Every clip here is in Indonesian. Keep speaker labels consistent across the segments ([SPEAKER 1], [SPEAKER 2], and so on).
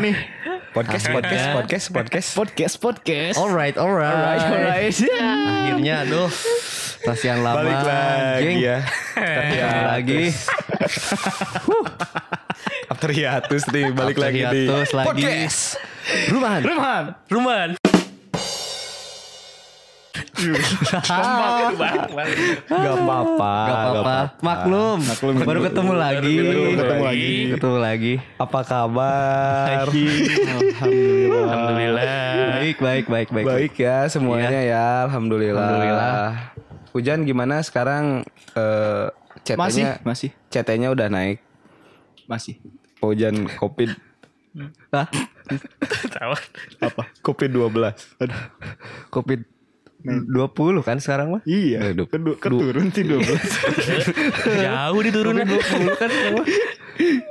[SPEAKER 1] Iya.
[SPEAKER 2] Podcast,
[SPEAKER 1] Akhirnya.
[SPEAKER 2] podcast, podcast, podcast.
[SPEAKER 3] Podcast, podcast.
[SPEAKER 1] Alright, alright.
[SPEAKER 3] alright, alright.
[SPEAKER 2] Ya.
[SPEAKER 1] Akhirnya aduh. Kasihan lama.
[SPEAKER 2] Balik
[SPEAKER 1] anjing.
[SPEAKER 2] lagi ya. After
[SPEAKER 1] Balik lagi.
[SPEAKER 2] hiatus. After hiatus nih, balik
[SPEAKER 1] After
[SPEAKER 2] lagi di
[SPEAKER 1] hiatus lagi.
[SPEAKER 2] podcast.
[SPEAKER 1] Rumahan.
[SPEAKER 3] Rumahan.
[SPEAKER 4] Rumahan.
[SPEAKER 2] Gak apa-apa.
[SPEAKER 1] Gak apa-apa. Maklum.
[SPEAKER 2] Maklum.
[SPEAKER 1] Baru ketemu lagi.
[SPEAKER 2] Baru ketemu lagi.
[SPEAKER 1] Ketemu lagi.
[SPEAKER 2] Apa kabar?
[SPEAKER 1] Alhamdulillah.
[SPEAKER 4] Alhamdulillah.
[SPEAKER 1] Baik, baik, baik, baik.
[SPEAKER 2] Baik ya semuanya ya, alhamdulillah.
[SPEAKER 1] Alhamdulillah.
[SPEAKER 2] Hujan gimana sekarang? Eh,
[SPEAKER 3] Masih,
[SPEAKER 2] CT-nya
[SPEAKER 3] masih,
[SPEAKER 2] CT-nya udah naik.
[SPEAKER 3] masih.
[SPEAKER 2] Hujan Covid
[SPEAKER 1] Hah?
[SPEAKER 4] Tahu.
[SPEAKER 2] apa? Covid 12.
[SPEAKER 1] Covid 20 kan sekarang mah?
[SPEAKER 2] Iya,
[SPEAKER 1] Aduh.
[SPEAKER 2] kedua keturun sih 12.
[SPEAKER 4] Jauh diturunnya.
[SPEAKER 1] Dulu kan semua.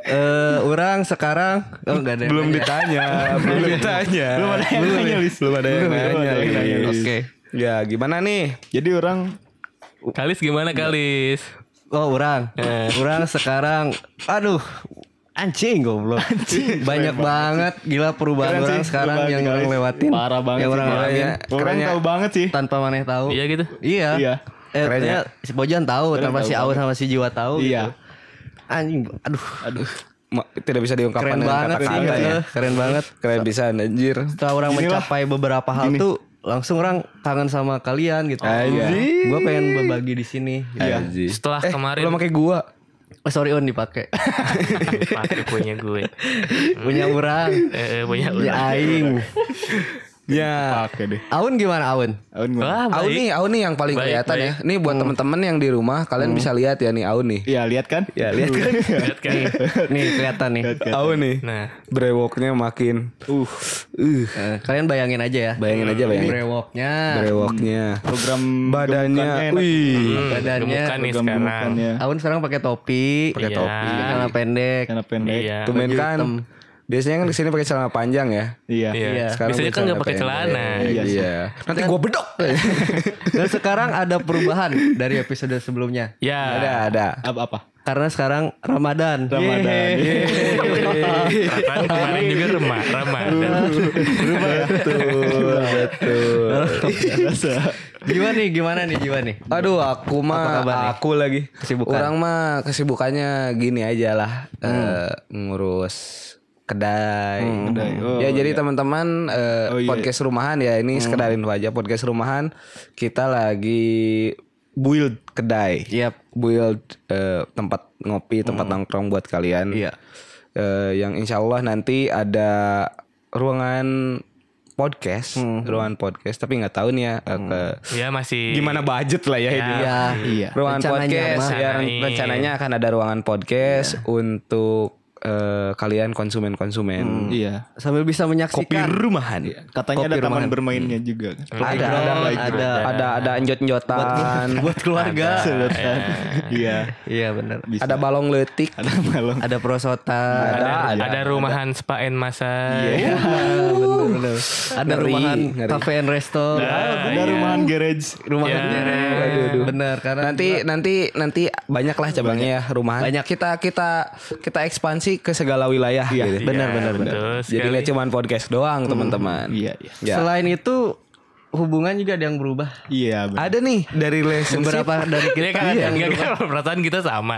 [SPEAKER 1] Eh, orang sekarang oh, enggak ada. yang
[SPEAKER 2] belum
[SPEAKER 1] nanya.
[SPEAKER 2] ditanya, belum ditanya. Belum ada yang nanya, Belum ada yang nanya.
[SPEAKER 1] ada yang nanya,
[SPEAKER 2] Lis.
[SPEAKER 1] Oke.
[SPEAKER 2] Ya, gimana nih? Jadi orang
[SPEAKER 4] Kalis gimana Kalis?
[SPEAKER 1] Oh, orang.
[SPEAKER 2] Eh.
[SPEAKER 1] Orang sekarang aduh anjing goblok. Banyak banget gila perubahan
[SPEAKER 2] Keren
[SPEAKER 1] orang
[SPEAKER 2] sih,
[SPEAKER 1] sekarang
[SPEAKER 2] perubahan
[SPEAKER 1] yang
[SPEAKER 2] sih,
[SPEAKER 1] orang
[SPEAKER 2] guys.
[SPEAKER 1] lewatin.
[SPEAKER 3] Parah banget
[SPEAKER 1] Yang
[SPEAKER 3] sih,
[SPEAKER 1] orang lewatin
[SPEAKER 2] Orang tahu
[SPEAKER 3] banget sih.
[SPEAKER 1] tanpa maneh tahu.
[SPEAKER 4] Iya gitu.
[SPEAKER 1] Iya.
[SPEAKER 3] Iya.
[SPEAKER 1] Eh,
[SPEAKER 2] Keren ya.
[SPEAKER 1] ternyata si Pojan tahu tanpa si Aun sama si Jiwa tahu gitu.
[SPEAKER 3] Iya.
[SPEAKER 1] Anjing, aduh, aduh,
[SPEAKER 2] ma- tidak bisa diungkapkan
[SPEAKER 1] keren
[SPEAKER 2] dengan
[SPEAKER 1] banget sih,
[SPEAKER 2] kata-kata ya.
[SPEAKER 1] gitu. keren banget.
[SPEAKER 2] Keren bisa anjir.
[SPEAKER 1] Setelah orang mencapai beberapa hal tuh, langsung orang kangen sama kalian gitu.
[SPEAKER 2] Anjing.
[SPEAKER 1] Gue pengen berbagi di sini. gitu.
[SPEAKER 3] iya.
[SPEAKER 2] Anjir.
[SPEAKER 4] Setelah
[SPEAKER 2] Eh,
[SPEAKER 4] kemarin
[SPEAKER 2] belum pakai gua.
[SPEAKER 1] Oh, sorry on dipakai
[SPEAKER 4] Pakai punya gue.
[SPEAKER 1] punya orang,
[SPEAKER 4] Eh, eh, punya
[SPEAKER 1] punya
[SPEAKER 4] orang.
[SPEAKER 1] aing.
[SPEAKER 2] Ya.
[SPEAKER 1] Aun gimana Aun?
[SPEAKER 4] Wah,
[SPEAKER 2] Aun
[SPEAKER 4] Ah, baik.
[SPEAKER 2] nih, Aun nih yang paling
[SPEAKER 4] Baik,
[SPEAKER 2] kelihatan
[SPEAKER 4] baik. Hmm.
[SPEAKER 2] ya. Nih buat temen-temen yang di rumah, kalian bisa lihat ya nih Aun nih.
[SPEAKER 3] Iya, lihat kan?
[SPEAKER 2] Ya, lihat kan?
[SPEAKER 4] Lihat kan?
[SPEAKER 1] Nih kelihatan nih.
[SPEAKER 2] Aun nih.
[SPEAKER 4] Nah,
[SPEAKER 2] Brewoknya makin uh.
[SPEAKER 1] Eh, Kalian bayangin aja ya.
[SPEAKER 2] Bayangin aja bayangin.
[SPEAKER 1] Brewoknya,
[SPEAKER 2] Brewoknya.
[SPEAKER 3] Program
[SPEAKER 2] Badannya wih.
[SPEAKER 4] hmm,
[SPEAKER 1] Badannya,
[SPEAKER 4] gemukan nih sekarang.
[SPEAKER 3] ya.
[SPEAKER 1] Aun sekarang pakai topi,
[SPEAKER 4] Pakai
[SPEAKER 1] Iya.
[SPEAKER 4] topi.
[SPEAKER 1] celana pendek.
[SPEAKER 3] Karena pendek.
[SPEAKER 4] Iya.
[SPEAKER 2] Tumen kan
[SPEAKER 1] hitam.
[SPEAKER 2] biasanya kan kesini pakai celana panjang ya.
[SPEAKER 3] Iya.
[SPEAKER 4] Iya.
[SPEAKER 2] Sekarang
[SPEAKER 4] Biasanya
[SPEAKER 2] gua
[SPEAKER 4] kan nggak pakai celana.
[SPEAKER 2] pendek. Iya. Nanti gua bedok.
[SPEAKER 1] Dan sekarang ada perubahan dari episode sebelumnya.
[SPEAKER 4] Ya.
[SPEAKER 2] ada ada.
[SPEAKER 3] Apa apa?
[SPEAKER 1] Karena sekarang Ramadan.
[SPEAKER 3] Ramadan.
[SPEAKER 1] Yeay.
[SPEAKER 4] Perasaan kemarin juga remah, remah.
[SPEAKER 2] Betul, betul.
[SPEAKER 3] Iya.
[SPEAKER 1] Gimana nih? Gimana nih? Gimana nih?
[SPEAKER 2] Aduh, aku mah
[SPEAKER 1] kabar nih?
[SPEAKER 2] aku lagi
[SPEAKER 1] Kesibukan.
[SPEAKER 2] Orang mah kesibukannya gini aja lah, eh, ngurus kedai.
[SPEAKER 3] kedai. Oh,
[SPEAKER 2] ya jadi teman-teman eh,
[SPEAKER 3] Oh, iya.
[SPEAKER 2] podcast rumahan ya ini sekedarin aja podcast rumahan kita lagi build kedai.
[SPEAKER 1] Yap.
[SPEAKER 2] Build eh, tempat ngopi, tempat nongkrong buat kalian.
[SPEAKER 1] Iya.
[SPEAKER 2] Eh, yang insya Allah nanti ada ruangan podcast, ruangan podcast. Tapi nggak tahu nih ya eh, ke
[SPEAKER 4] Ya masih.
[SPEAKER 2] gimana budget lah ya, ini.
[SPEAKER 1] Iya.
[SPEAKER 3] Iya.
[SPEAKER 2] Ruangan
[SPEAKER 1] Rencananya
[SPEAKER 2] podcast
[SPEAKER 1] mah.
[SPEAKER 2] ya, rencananya akan ada ruangan podcast untuk eh, kalian konsumen-konsumen
[SPEAKER 3] Iya.
[SPEAKER 1] Sambil bisa
[SPEAKER 2] kopi
[SPEAKER 1] menyaksikan.
[SPEAKER 2] rumahan.
[SPEAKER 3] Katanya ada taman bermainnya juga kan.
[SPEAKER 2] Ada, ada,
[SPEAKER 1] Playground,
[SPEAKER 2] ada,
[SPEAKER 1] ada.
[SPEAKER 2] ada, ada enjot-enjotan,
[SPEAKER 1] buat
[SPEAKER 4] Ya,
[SPEAKER 1] keluarga.
[SPEAKER 3] Iya.
[SPEAKER 1] Iya benar.
[SPEAKER 3] Bisa.
[SPEAKER 2] ada balong letik,
[SPEAKER 3] Ada malam.
[SPEAKER 1] Ada prosotan.
[SPEAKER 4] Ada, ada rumahan spa and massage.
[SPEAKER 1] Iya, bener, bener. Ada
[SPEAKER 2] Ngeri,
[SPEAKER 1] rumahan
[SPEAKER 2] ngeri. Nah.
[SPEAKER 1] cafe and resto.
[SPEAKER 3] Ada rumahan garage.
[SPEAKER 1] Rumahan
[SPEAKER 4] Iya.
[SPEAKER 1] Aduh, aduh. Bener karena
[SPEAKER 2] nanti nanti nanti banyak lah cabangnya ya rumahan banyak kita kita kita ekspansi ke segala wilayah gitu.
[SPEAKER 4] Benar, benar, benar. betul
[SPEAKER 2] jadi
[SPEAKER 4] sekali.
[SPEAKER 2] nggak cuma podcast doang teman-teman
[SPEAKER 3] Iya, iya.
[SPEAKER 2] Ya.
[SPEAKER 1] selain itu hubungan juga ada yang berubah.
[SPEAKER 3] Iya, benar.
[SPEAKER 2] ada nih dari relationship
[SPEAKER 1] Beberapa dari
[SPEAKER 4] Iya
[SPEAKER 1] kita
[SPEAKER 4] kan,
[SPEAKER 1] yang
[SPEAKER 4] enggak kan perasaan kita sama.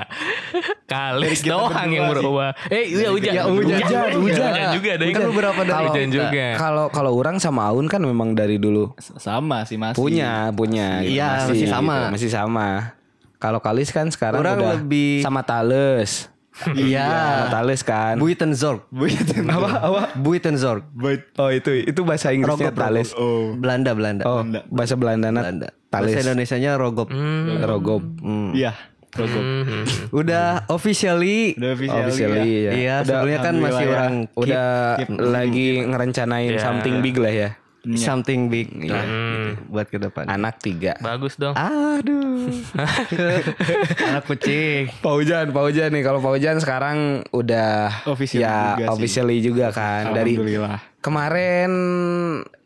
[SPEAKER 4] Kalis doang yang berubah. Eh, iya hujan.
[SPEAKER 1] Ya, hujan,
[SPEAKER 4] hujan,
[SPEAKER 1] hujan.
[SPEAKER 4] hujan juga ada.
[SPEAKER 1] Kan beberapa dari
[SPEAKER 4] hujan
[SPEAKER 1] kita.
[SPEAKER 4] juga.
[SPEAKER 2] kalau kalau orang sama Aun kan memang dari dulu
[SPEAKER 3] sama sih masih.
[SPEAKER 2] punya punya gitu,
[SPEAKER 1] Iya, masih sama.
[SPEAKER 2] gitu, masih sama kalau Kalis kan sekarang
[SPEAKER 1] Orang
[SPEAKER 2] udah
[SPEAKER 1] lebih-
[SPEAKER 2] sama Tales sama
[SPEAKER 1] Iya.
[SPEAKER 2] Tales kan
[SPEAKER 1] Buitenzorg.
[SPEAKER 2] apa apa
[SPEAKER 1] Buitenzorg.
[SPEAKER 2] oh itu itu bahasa Inggrisnya Tales
[SPEAKER 3] Oh.
[SPEAKER 1] Belanda Belanda.
[SPEAKER 2] oh bahasa Belanda
[SPEAKER 1] Belanda. Bahasa
[SPEAKER 2] Tales
[SPEAKER 1] Indonesianya rogop.
[SPEAKER 2] Hmm. Rogob Hmm.
[SPEAKER 3] Iya. Rogop.
[SPEAKER 1] Udah officially
[SPEAKER 3] Udah officially.
[SPEAKER 2] Officially,
[SPEAKER 3] ya.
[SPEAKER 2] Iya.
[SPEAKER 1] Iya,
[SPEAKER 2] Udah,
[SPEAKER 1] sebelumnya kan masih
[SPEAKER 3] alhamdulillah ya. Iya,
[SPEAKER 1] orang keep
[SPEAKER 2] udah lagi ngerencanain something big lah ya
[SPEAKER 1] something big lah gitu, buat ke depan.
[SPEAKER 2] anak tiga
[SPEAKER 4] Bagus dong.
[SPEAKER 1] Aduh. Anak kucing.
[SPEAKER 2] Pak Ujan, Pak Ujan nih kalau Pak Ujan sekarang udah
[SPEAKER 3] Officially
[SPEAKER 2] ya
[SPEAKER 3] juga sih.
[SPEAKER 2] officially juga kan dari
[SPEAKER 3] Alhamdulillah.
[SPEAKER 2] kemarin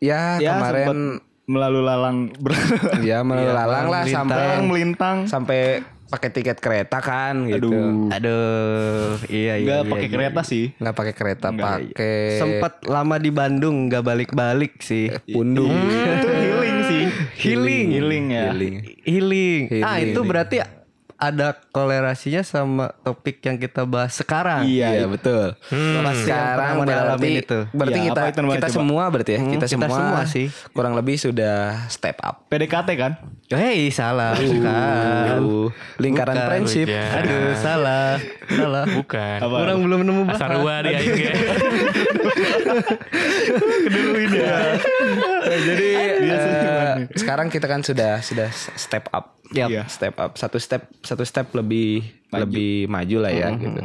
[SPEAKER 2] ya,
[SPEAKER 3] Ya, Iya,
[SPEAKER 2] kemarin
[SPEAKER 3] sempat melalui lalang ber
[SPEAKER 2] ya melalang lah
[SPEAKER 1] melintang.
[SPEAKER 2] sampai
[SPEAKER 3] melintang
[SPEAKER 2] sampai pakai tiket kereta kan gitu.
[SPEAKER 3] Aduh.
[SPEAKER 1] Aduh, iya iya.
[SPEAKER 3] Enggak
[SPEAKER 1] iya,
[SPEAKER 3] pakai
[SPEAKER 1] iya.
[SPEAKER 3] kereta sih.
[SPEAKER 2] Nggak pakai kereta,
[SPEAKER 3] iya.
[SPEAKER 2] pakai
[SPEAKER 1] Sempet lama di Bandung nggak balik-balik sih. Iya.
[SPEAKER 2] pundung.
[SPEAKER 3] Itu healing sih.
[SPEAKER 1] Healing.
[SPEAKER 3] Healing ya.
[SPEAKER 2] Healing.
[SPEAKER 1] Healing.
[SPEAKER 2] Healing.
[SPEAKER 1] Ah, itu berarti ada kolerasinya sama topik yang kita bahas sekarang. Hmm,
[SPEAKER 3] Iya.
[SPEAKER 2] Iya, betul.
[SPEAKER 1] Pasti yang
[SPEAKER 2] Sekarang
[SPEAKER 1] pernah
[SPEAKER 2] berarti
[SPEAKER 1] mendalamin itu. Hmm,
[SPEAKER 2] berarti
[SPEAKER 3] Iya,
[SPEAKER 2] kita
[SPEAKER 3] apa itu namanya,
[SPEAKER 2] kita
[SPEAKER 3] coba?
[SPEAKER 2] semua berarti ya. kita,
[SPEAKER 1] kita
[SPEAKER 2] semua,
[SPEAKER 1] semua sih.
[SPEAKER 2] Kurang lebih sudah step up.
[SPEAKER 3] PDKT kan?
[SPEAKER 1] Hei, salah. Bukan.
[SPEAKER 2] Uh, lingkaran
[SPEAKER 1] Bukan.
[SPEAKER 2] friendship.
[SPEAKER 4] Iya.
[SPEAKER 1] Aduh, salah. Salah.
[SPEAKER 4] Bukan.
[SPEAKER 3] Apa?
[SPEAKER 1] Orang Ah. belum nemu
[SPEAKER 4] Asar
[SPEAKER 1] bahan.
[SPEAKER 4] dua di aing ge.
[SPEAKER 2] Jadi eh, sekarang kita kan sudah sudah step up.
[SPEAKER 1] Yap.
[SPEAKER 3] Iya.
[SPEAKER 2] Step up. Satu step satu step lebih lebih maju lah ya gitu.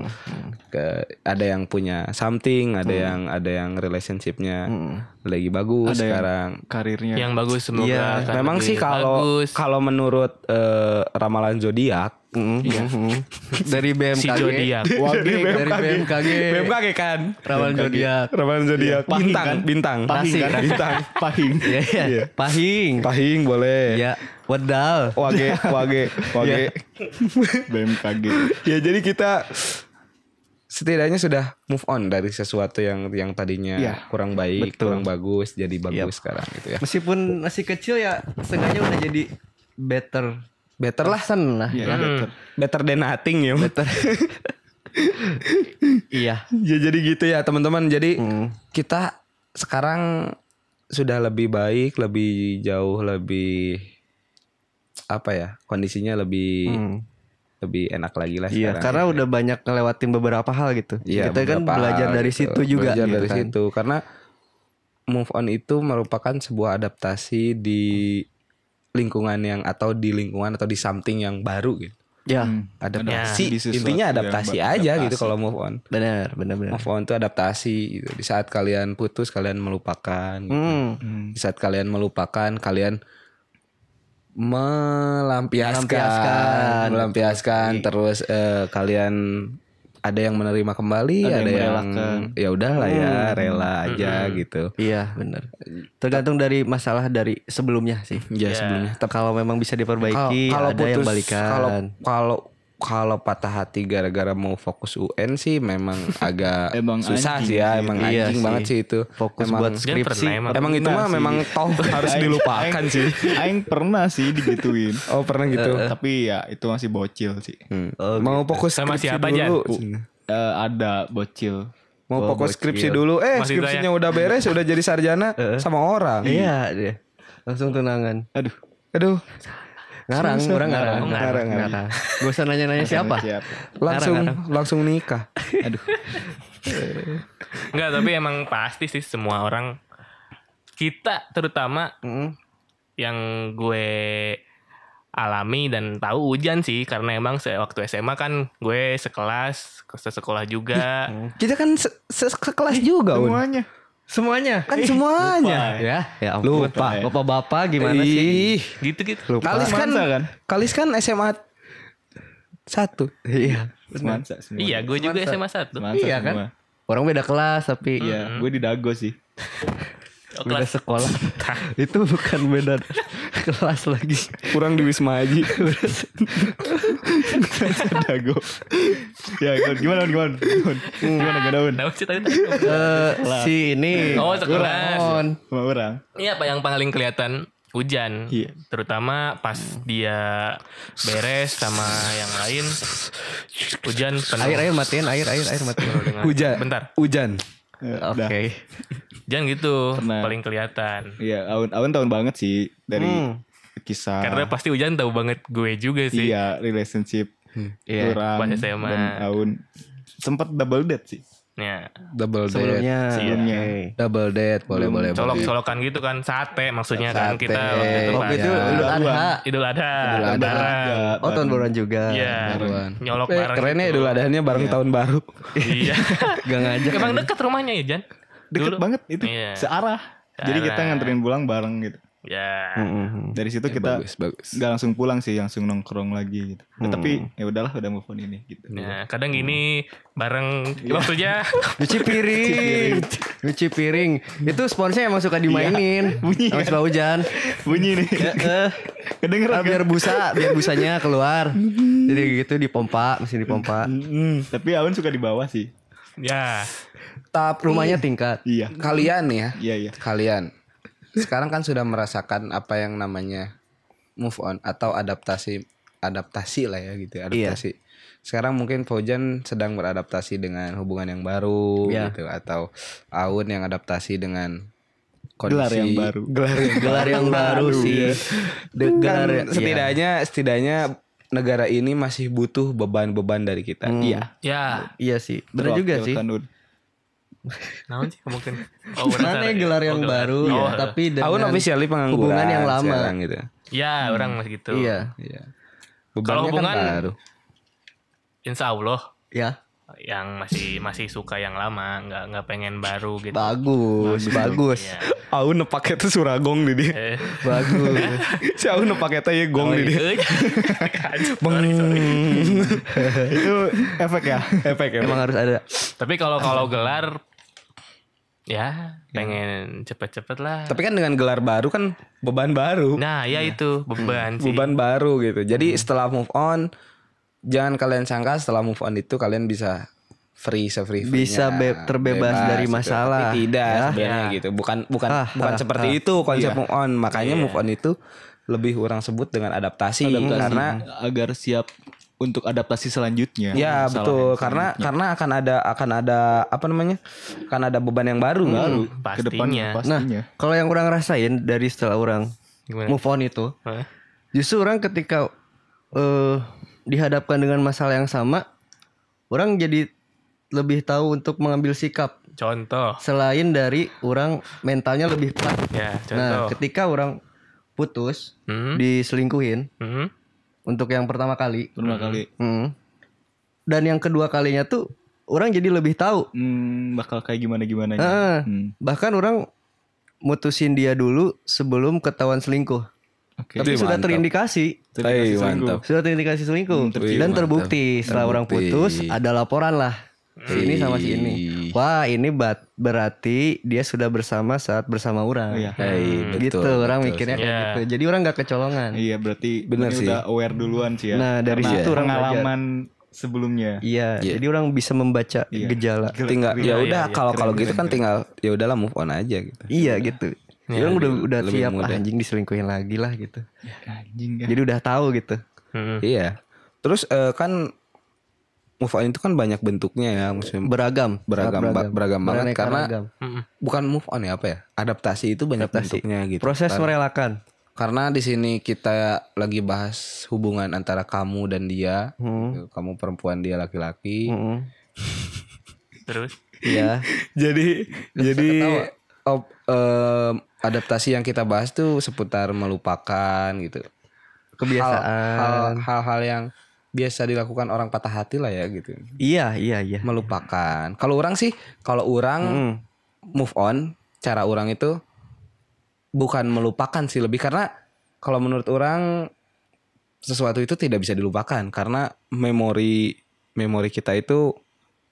[SPEAKER 2] Ke ada yang punya something, ada yang ada yang relationshipnya lagi bagus
[SPEAKER 3] Ada yang
[SPEAKER 2] sekarang.
[SPEAKER 3] Karirnya.
[SPEAKER 4] Yang bagus semoga.
[SPEAKER 1] Iya,
[SPEAKER 4] akan
[SPEAKER 2] Memang
[SPEAKER 4] lebih
[SPEAKER 2] sih kalau
[SPEAKER 4] bagus.
[SPEAKER 2] kalau menurut eh, ramalan zodiak
[SPEAKER 1] Hmm, Iya. Dari BMKG.
[SPEAKER 4] si Jodiak.
[SPEAKER 1] Dari BMKG.
[SPEAKER 2] BMKG kan
[SPEAKER 1] Rawan Zodiak.
[SPEAKER 2] ramalan zodiak
[SPEAKER 3] Pahing
[SPEAKER 2] bintang
[SPEAKER 3] kan?
[SPEAKER 2] bintang
[SPEAKER 1] Nasi.
[SPEAKER 3] Pahing kan?
[SPEAKER 2] Bintang.
[SPEAKER 3] Pahing.
[SPEAKER 1] Iya, iya. Pahing.
[SPEAKER 2] pahing Oh, boleh
[SPEAKER 1] Iya, wedal.
[SPEAKER 2] wage wage wage
[SPEAKER 3] BMKG.
[SPEAKER 2] ya jadi kita setidaknya sudah move on dari sesuatu yang yang tadinya
[SPEAKER 3] Iya.
[SPEAKER 2] kurang baik kurang bagus jadi bagus sekarang gitu ya
[SPEAKER 1] Meskipun masih kecil ya, sengaja udah jadi better.
[SPEAKER 2] better lah
[SPEAKER 1] Sen lah.
[SPEAKER 3] Iya, betul.
[SPEAKER 2] better than nothing ya better
[SPEAKER 1] Iya.
[SPEAKER 2] ya jadi gitu ya teman-teman jadi
[SPEAKER 1] Hmm.
[SPEAKER 2] kita sekarang sudah lebih baik lebih jauh lebih apa ya kondisinya lebih lebih enak lagi lah
[SPEAKER 1] Iya,
[SPEAKER 2] sekarang ya. gitu
[SPEAKER 1] karena udah banyak ngelewatin beberapa hal gitu.
[SPEAKER 2] Iya,
[SPEAKER 1] kita kan
[SPEAKER 2] beberapa
[SPEAKER 1] belajar
[SPEAKER 2] hal
[SPEAKER 1] dari
[SPEAKER 2] gitu.
[SPEAKER 1] situ juga
[SPEAKER 2] Belajar
[SPEAKER 1] gitu
[SPEAKER 2] dari
[SPEAKER 1] kan.
[SPEAKER 2] situ karena move on itu merupakan sebuah adaptasi di lingkungan yang atau di lingkungan atau di something yang baru gitu.
[SPEAKER 1] Ya,
[SPEAKER 2] Adaptasi.
[SPEAKER 3] Di sesuatu
[SPEAKER 2] Intinya
[SPEAKER 3] yang
[SPEAKER 2] adaptasi
[SPEAKER 3] ber-
[SPEAKER 2] aja
[SPEAKER 3] adaptasi.
[SPEAKER 2] gitu kalau move on.
[SPEAKER 1] benar, benar, benar.
[SPEAKER 2] Move on itu adaptasi gitu. Di saat kalian putus, kalian melupakan. gitu.
[SPEAKER 1] Hmm.
[SPEAKER 2] Di saat kalian melupakan, kalian melampiaskan,
[SPEAKER 1] Melampiaskan.
[SPEAKER 2] melampiaskan, terus eh, kalian ada yang menerima kembali, ada,
[SPEAKER 3] Ada yang
[SPEAKER 2] yang, ya udahlah ya, rela aja gitu.
[SPEAKER 1] Iya, benar. Tergantung dari masalah dari sebelumnya sih.
[SPEAKER 2] Ya sebelumnya.
[SPEAKER 1] Tapi kalau memang bisa
[SPEAKER 2] Kalau
[SPEAKER 1] diperbaiki,
[SPEAKER 2] kalau
[SPEAKER 1] ada
[SPEAKER 2] putus,
[SPEAKER 1] yang balikan.
[SPEAKER 2] kalau kalau kalau patah hati gara-gara mau fokus UN sih memang agak
[SPEAKER 3] Emang
[SPEAKER 2] susah sih
[SPEAKER 3] anjing
[SPEAKER 2] ya,
[SPEAKER 3] sih.
[SPEAKER 2] emang
[SPEAKER 1] Iya
[SPEAKER 2] anjing
[SPEAKER 1] sih.
[SPEAKER 2] banget sih itu.
[SPEAKER 1] Fokus
[SPEAKER 2] emang,
[SPEAKER 1] buat
[SPEAKER 4] Kan
[SPEAKER 1] skripsi.
[SPEAKER 4] pernah emang.
[SPEAKER 2] Emang itu
[SPEAKER 3] Pernah
[SPEAKER 2] mah
[SPEAKER 3] sih.
[SPEAKER 2] memang toh harus
[SPEAKER 3] Ya, Aing-
[SPEAKER 2] dilupakan
[SPEAKER 3] Aing-
[SPEAKER 2] sih.
[SPEAKER 3] Aing pernah sih digituin.
[SPEAKER 2] Oh pernah gitu.
[SPEAKER 3] Tapi ya itu masih bocil sih.
[SPEAKER 2] Hmm. mau fokus
[SPEAKER 4] Sama
[SPEAKER 2] skripsi
[SPEAKER 4] siapa, Jan?
[SPEAKER 2] dulu.
[SPEAKER 3] Eh, ada bocil.
[SPEAKER 2] Mau
[SPEAKER 1] Oh,
[SPEAKER 2] fokus
[SPEAKER 1] bocil.
[SPEAKER 2] skripsi dulu. Eh,
[SPEAKER 4] Masih
[SPEAKER 2] skripsinya udah beres, udah jadi sarjana sama orang.
[SPEAKER 1] Iya, dia. Langsung tunangan.
[SPEAKER 3] Aduh.
[SPEAKER 2] Aduh,
[SPEAKER 1] Ngarang,
[SPEAKER 2] Susah.
[SPEAKER 1] orang ngarang.
[SPEAKER 2] Ngarang, ngarang.
[SPEAKER 1] Gak usah nanya-nanya siapa.
[SPEAKER 3] Siapa?
[SPEAKER 2] langsung langsung nikah.
[SPEAKER 3] Aduh.
[SPEAKER 4] Enggak, tapi emang pasti sih semua orang kita terutama yang gue alami dan tahu hujan sih karena emang se- waktu SMA kan gue sekelas ke sekolah juga
[SPEAKER 2] Kita kan se- se- sekelas juga, Un.
[SPEAKER 3] Semuanya.
[SPEAKER 1] Semuanya.
[SPEAKER 2] Kan semuanya.
[SPEAKER 1] Ya, ya ampun.
[SPEAKER 2] Lupa.
[SPEAKER 1] Bapak-bapak gimana sih?
[SPEAKER 2] Ih,
[SPEAKER 4] gitu gitu
[SPEAKER 2] Kalis kan,
[SPEAKER 3] Semansa kan?
[SPEAKER 2] Kalis kan SMA satu.
[SPEAKER 1] Iya.
[SPEAKER 3] Semansa semua.
[SPEAKER 4] iya gue juga SMA satu
[SPEAKER 3] Semansa
[SPEAKER 1] Iya kan?
[SPEAKER 3] semua.
[SPEAKER 1] Orang beda kelas tapi
[SPEAKER 3] Iya, gue di Dago sih.
[SPEAKER 4] Oh,
[SPEAKER 1] beda
[SPEAKER 4] kelas
[SPEAKER 1] sekolah. itu bukan beda kelas lagi.
[SPEAKER 2] Kurang di Wisma Haji.
[SPEAKER 3] Dago. ya, gimana gimana gimana. Gimana gimana gimana. gimana.
[SPEAKER 4] Kenapa sih tadi tadi?
[SPEAKER 1] Eh si ini.
[SPEAKER 4] Oh, sekelas.
[SPEAKER 1] Uraon.
[SPEAKER 3] Sama orang.
[SPEAKER 4] Iya apa yang paling kelihatan hujan,
[SPEAKER 3] Iya.
[SPEAKER 4] terutama pas dia beres sama yang lain hujan penuh.
[SPEAKER 1] Air air matiin, air air air matiin.
[SPEAKER 4] Penuh dengan-
[SPEAKER 2] Hujan.
[SPEAKER 4] Bentar,
[SPEAKER 2] Hujan.
[SPEAKER 3] Ya,
[SPEAKER 1] Oke.
[SPEAKER 3] udah.
[SPEAKER 4] jangan gitu.
[SPEAKER 3] Pernah.
[SPEAKER 4] Paling kelihatan.
[SPEAKER 3] Iya, Aun Aun tahun banget sih dari
[SPEAKER 1] Hmm.
[SPEAKER 3] kisah
[SPEAKER 4] Karena pasti hujan tahu banget gue juga
[SPEAKER 3] Ah.
[SPEAKER 4] sih.
[SPEAKER 3] iya relationship
[SPEAKER 1] Iya,
[SPEAKER 3] orang
[SPEAKER 4] pas SMA.
[SPEAKER 3] dan Aun sempat double date sih.
[SPEAKER 4] Ya.
[SPEAKER 2] Double date.
[SPEAKER 1] Sebelumnya. Hmm,
[SPEAKER 3] Sebelumnya.
[SPEAKER 1] Ah, oke.
[SPEAKER 2] Double date boleh boleh.
[SPEAKER 1] Iya,
[SPEAKER 2] boleh.
[SPEAKER 4] Colok-colokan gitu kan sate maksudnya kan
[SPEAKER 2] Sate.
[SPEAKER 4] kita waktu itu
[SPEAKER 1] Waktu
[SPEAKER 4] pas
[SPEAKER 1] Oh, itu
[SPEAKER 2] Iya.
[SPEAKER 1] Idul Adha.
[SPEAKER 4] Idul Adha.
[SPEAKER 2] Idul Adha.
[SPEAKER 4] lebaran.
[SPEAKER 3] Ada
[SPEAKER 1] Oh, tahun baruan juga.
[SPEAKER 4] Iya.
[SPEAKER 2] Baruan.
[SPEAKER 4] Nyolok
[SPEAKER 2] Eh,
[SPEAKER 4] bareng.
[SPEAKER 2] Keren ya
[SPEAKER 4] gitu.
[SPEAKER 2] Idul Adhanya bareng tahun baru.
[SPEAKER 4] Iya.
[SPEAKER 1] Gak ngajak.
[SPEAKER 4] Emang deket rumahnya ya Jan?
[SPEAKER 3] deket
[SPEAKER 4] Dulu.
[SPEAKER 3] banget itu
[SPEAKER 4] Iya.
[SPEAKER 3] searah. Jadi kita
[SPEAKER 4] Searah.
[SPEAKER 3] nganterin pulang bareng gitu.
[SPEAKER 4] Ya.
[SPEAKER 1] Mm-mm.
[SPEAKER 3] Dari situ kita
[SPEAKER 2] bagus bagus
[SPEAKER 3] nggak langsung pulang sih, langsung nongkrong lagi gitu. Ya, tapi ya udahlah udah move on ini gitu.
[SPEAKER 4] Nah, kadang gini bareng maksudnya
[SPEAKER 1] Cuci piring. Iya. Cuci piring. Itu sponsnya emang suka dimainin.
[SPEAKER 3] bunyi
[SPEAKER 1] Sama
[SPEAKER 3] kan?
[SPEAKER 1] suka hujan.
[SPEAKER 3] Bunyi nih.
[SPEAKER 1] Eh,
[SPEAKER 3] Kedengeran
[SPEAKER 1] ah,
[SPEAKER 3] kan?
[SPEAKER 1] biar busa, biar busanya keluar. Jadi gitu dipompa, mesin dipompa.
[SPEAKER 3] Mm, tapi Awan suka di bawah sih.
[SPEAKER 4] ya
[SPEAKER 2] tapi
[SPEAKER 1] Rumahnya tingkat.
[SPEAKER 3] Iya.
[SPEAKER 2] kalian nih ya
[SPEAKER 3] Iya iya.
[SPEAKER 2] kalian sekarang kan sudah merasakan apa yang namanya move on atau adaptasi adaptasi lah ya gitu adaptasi sekarang mungkin Fauzan sedang beradaptasi dengan hubungan yang baru
[SPEAKER 1] Iya.
[SPEAKER 2] gitu atau Aun yang adaptasi dengan kondisi
[SPEAKER 3] Gelar yang baru.
[SPEAKER 1] Gelar, gelar yang baru iya. sih.
[SPEAKER 2] De-
[SPEAKER 1] Gelar
[SPEAKER 2] kan
[SPEAKER 1] yang- iya.
[SPEAKER 2] setidaknya setidaknya negara ini masih butuh beban-beban dari kita
[SPEAKER 1] Iya.
[SPEAKER 4] ya
[SPEAKER 1] Iya sih. Benar juga sih.
[SPEAKER 3] Wakil Tanun.
[SPEAKER 4] naon sih mungkin oh, orang
[SPEAKER 1] Mana ya, gelar yang baru Iya,
[SPEAKER 4] oh,
[SPEAKER 1] tapi dengan
[SPEAKER 2] Aun officially pengangguran
[SPEAKER 1] hubungan yang lama.
[SPEAKER 2] sekarang gitu
[SPEAKER 4] ya orang masih gitu
[SPEAKER 1] Iya.
[SPEAKER 2] Iya.
[SPEAKER 4] Kalau
[SPEAKER 2] Bebannya
[SPEAKER 4] hubungan-
[SPEAKER 2] kan baru.
[SPEAKER 4] insya Allah
[SPEAKER 1] Ya.
[SPEAKER 4] yang masih masih suka yang lama nggak nggak pengen baru gitu
[SPEAKER 1] Bagus, bagus.
[SPEAKER 4] Iya.
[SPEAKER 2] Aun nepake tuh suragong di dia.
[SPEAKER 4] Eh,
[SPEAKER 1] Bagus.
[SPEAKER 2] Si Aun nepake teh ya gong di dia.
[SPEAKER 4] eh, sorry, sorry.
[SPEAKER 3] Itu efek ya.
[SPEAKER 2] Efek
[SPEAKER 1] Emang harus ada.
[SPEAKER 4] tapi kalau kalau gelar ya
[SPEAKER 2] Iya.
[SPEAKER 4] pengen cepet-cepet lah
[SPEAKER 2] Tapi kan dengan gelar baru kan beban baru.
[SPEAKER 4] nah ya itu beban
[SPEAKER 2] Iya. Hmm.
[SPEAKER 4] sih
[SPEAKER 2] Beban baru gitu.
[SPEAKER 1] Hmm.
[SPEAKER 2] Jadi setelah move on jangan kalian sangka setelah move on itu kalian bisa free se-free
[SPEAKER 1] Bisa be- terbebas dari masalah.
[SPEAKER 2] gitu. Tapi tidak
[SPEAKER 1] Ya.
[SPEAKER 2] sebenarnya gitu. Bukan bukan
[SPEAKER 1] Ah,
[SPEAKER 2] bukan
[SPEAKER 1] ah,
[SPEAKER 2] seperti
[SPEAKER 1] ah. Iya.
[SPEAKER 2] itu konsep move on. Makanya move on itu lebih orang sebut dengan adaptasi, Hmm, karena
[SPEAKER 3] agar siap untuk adaptasi
[SPEAKER 1] Iya,
[SPEAKER 3] selanjutnya.
[SPEAKER 2] Ya
[SPEAKER 3] Salah
[SPEAKER 2] betul
[SPEAKER 3] yang
[SPEAKER 2] karena karena akan ada akan ada apa namanya akan ada beban yang baru
[SPEAKER 1] Hmm.
[SPEAKER 2] kan?
[SPEAKER 3] baru ke depan
[SPEAKER 4] pastinya
[SPEAKER 1] Nah,
[SPEAKER 3] pastinya.
[SPEAKER 1] kalau yang orang rasain dari setelah orang
[SPEAKER 4] Gimana?
[SPEAKER 1] move on itu,
[SPEAKER 4] Hah?
[SPEAKER 1] justru orang ketika eh dihadapkan dengan masalah yang sama, orang jadi lebih tahu untuk mengambil sikap
[SPEAKER 4] contoh
[SPEAKER 1] selain dari orang mentalnya lebih kuat.
[SPEAKER 4] ya
[SPEAKER 1] Nah,
[SPEAKER 4] contoh
[SPEAKER 1] ketika orang putus,
[SPEAKER 4] Hmm,
[SPEAKER 1] diselingkuhin
[SPEAKER 4] hmm.
[SPEAKER 1] untuk yang pertama kali,
[SPEAKER 3] Pertama kali
[SPEAKER 1] Hmm. dan yang kedua kalinya tuh orang jadi lebih tahu
[SPEAKER 3] hmm, bakal kayak gimana gimana Hmm,
[SPEAKER 1] Heeh. bahkan orang mutusin dia dulu sebelum ketahuan selingkuh
[SPEAKER 3] Oke.
[SPEAKER 1] tapi
[SPEAKER 2] Ih,
[SPEAKER 1] sudah
[SPEAKER 2] mantap.
[SPEAKER 1] terindikasi
[SPEAKER 2] Tapi
[SPEAKER 3] Terindikasi
[SPEAKER 2] mantap.
[SPEAKER 1] sudah terindikasi selingkuh
[SPEAKER 3] Hmm, terbukti.
[SPEAKER 1] dan
[SPEAKER 2] Mantap.
[SPEAKER 1] terbukti setelah orang
[SPEAKER 2] Terbukti.
[SPEAKER 1] putus ada laporan lah si ini sama si ini
[SPEAKER 2] Ih.
[SPEAKER 1] wah ini bat- berarti dia sudah bersama saat bersama orang
[SPEAKER 3] Iya.
[SPEAKER 2] Hei,
[SPEAKER 1] gitu
[SPEAKER 2] betul,
[SPEAKER 1] orang
[SPEAKER 2] betul.
[SPEAKER 1] mikirnya kayak
[SPEAKER 4] Iya.
[SPEAKER 1] gitu jadi orang nggak kecolongan
[SPEAKER 3] Iya berarti
[SPEAKER 2] Bener
[SPEAKER 3] ini
[SPEAKER 2] sih.
[SPEAKER 3] udah aware duluan sih ya.
[SPEAKER 1] nah dari
[SPEAKER 3] Karena
[SPEAKER 1] situ orang belajar.
[SPEAKER 3] pengalaman sebelumnya.
[SPEAKER 1] iya
[SPEAKER 2] Iya.
[SPEAKER 1] jadi orang bisa membaca
[SPEAKER 3] Iya.
[SPEAKER 1] gejala
[SPEAKER 2] tinggal
[SPEAKER 4] Iya,
[SPEAKER 2] ya udah
[SPEAKER 4] iya, iya.
[SPEAKER 2] kalau kalau
[SPEAKER 3] Keren,
[SPEAKER 2] gitu kan tinggal ya udahlah move on aja gitu
[SPEAKER 1] iya gitu
[SPEAKER 4] Iya,
[SPEAKER 1] orang udah
[SPEAKER 2] lebih-
[SPEAKER 1] udah
[SPEAKER 2] lebih
[SPEAKER 1] siap
[SPEAKER 2] mudah.
[SPEAKER 1] "Ah, anjing diselingkuhin lagi lah gitu
[SPEAKER 3] Ya, anjing ya.
[SPEAKER 1] jadi udah tahu gitu
[SPEAKER 4] Hmm.
[SPEAKER 2] iya terus eh, kan move on itu kan banyak bentuknya ya maksudnya
[SPEAKER 1] beragam
[SPEAKER 2] Beragam,
[SPEAKER 1] sangat
[SPEAKER 2] ba- beragam banget
[SPEAKER 1] Beraneka
[SPEAKER 2] karena-
[SPEAKER 1] ragam.
[SPEAKER 4] Hmm.
[SPEAKER 2] bukan move on ya apa ya adaptasi itu banyak bentuknya gitu
[SPEAKER 1] proses merelakan
[SPEAKER 2] Karena di sini kita lagi bahas hubungan antara kamu dan dia, gitu. kamu perempuan dia laki-laki.
[SPEAKER 1] Hmm.
[SPEAKER 4] terus
[SPEAKER 1] Iya.
[SPEAKER 2] jadi jadi op- em, adaptasi yang kita bahas tuh seputar melupakan gitu. Hal- hal-
[SPEAKER 1] kebiasaan
[SPEAKER 2] Hal-hal yang biasa dilakukan orang patah hati lah ya gitu.
[SPEAKER 1] iya iya iya
[SPEAKER 2] Melupakan. Kalau orang sih, kalau orang
[SPEAKER 1] Mm.
[SPEAKER 2] move on, cara orang itu bukan melupakan sih lebih karena kalau menurut orang sesuatu itu tidak bisa dilupakan karena memori memori kita itu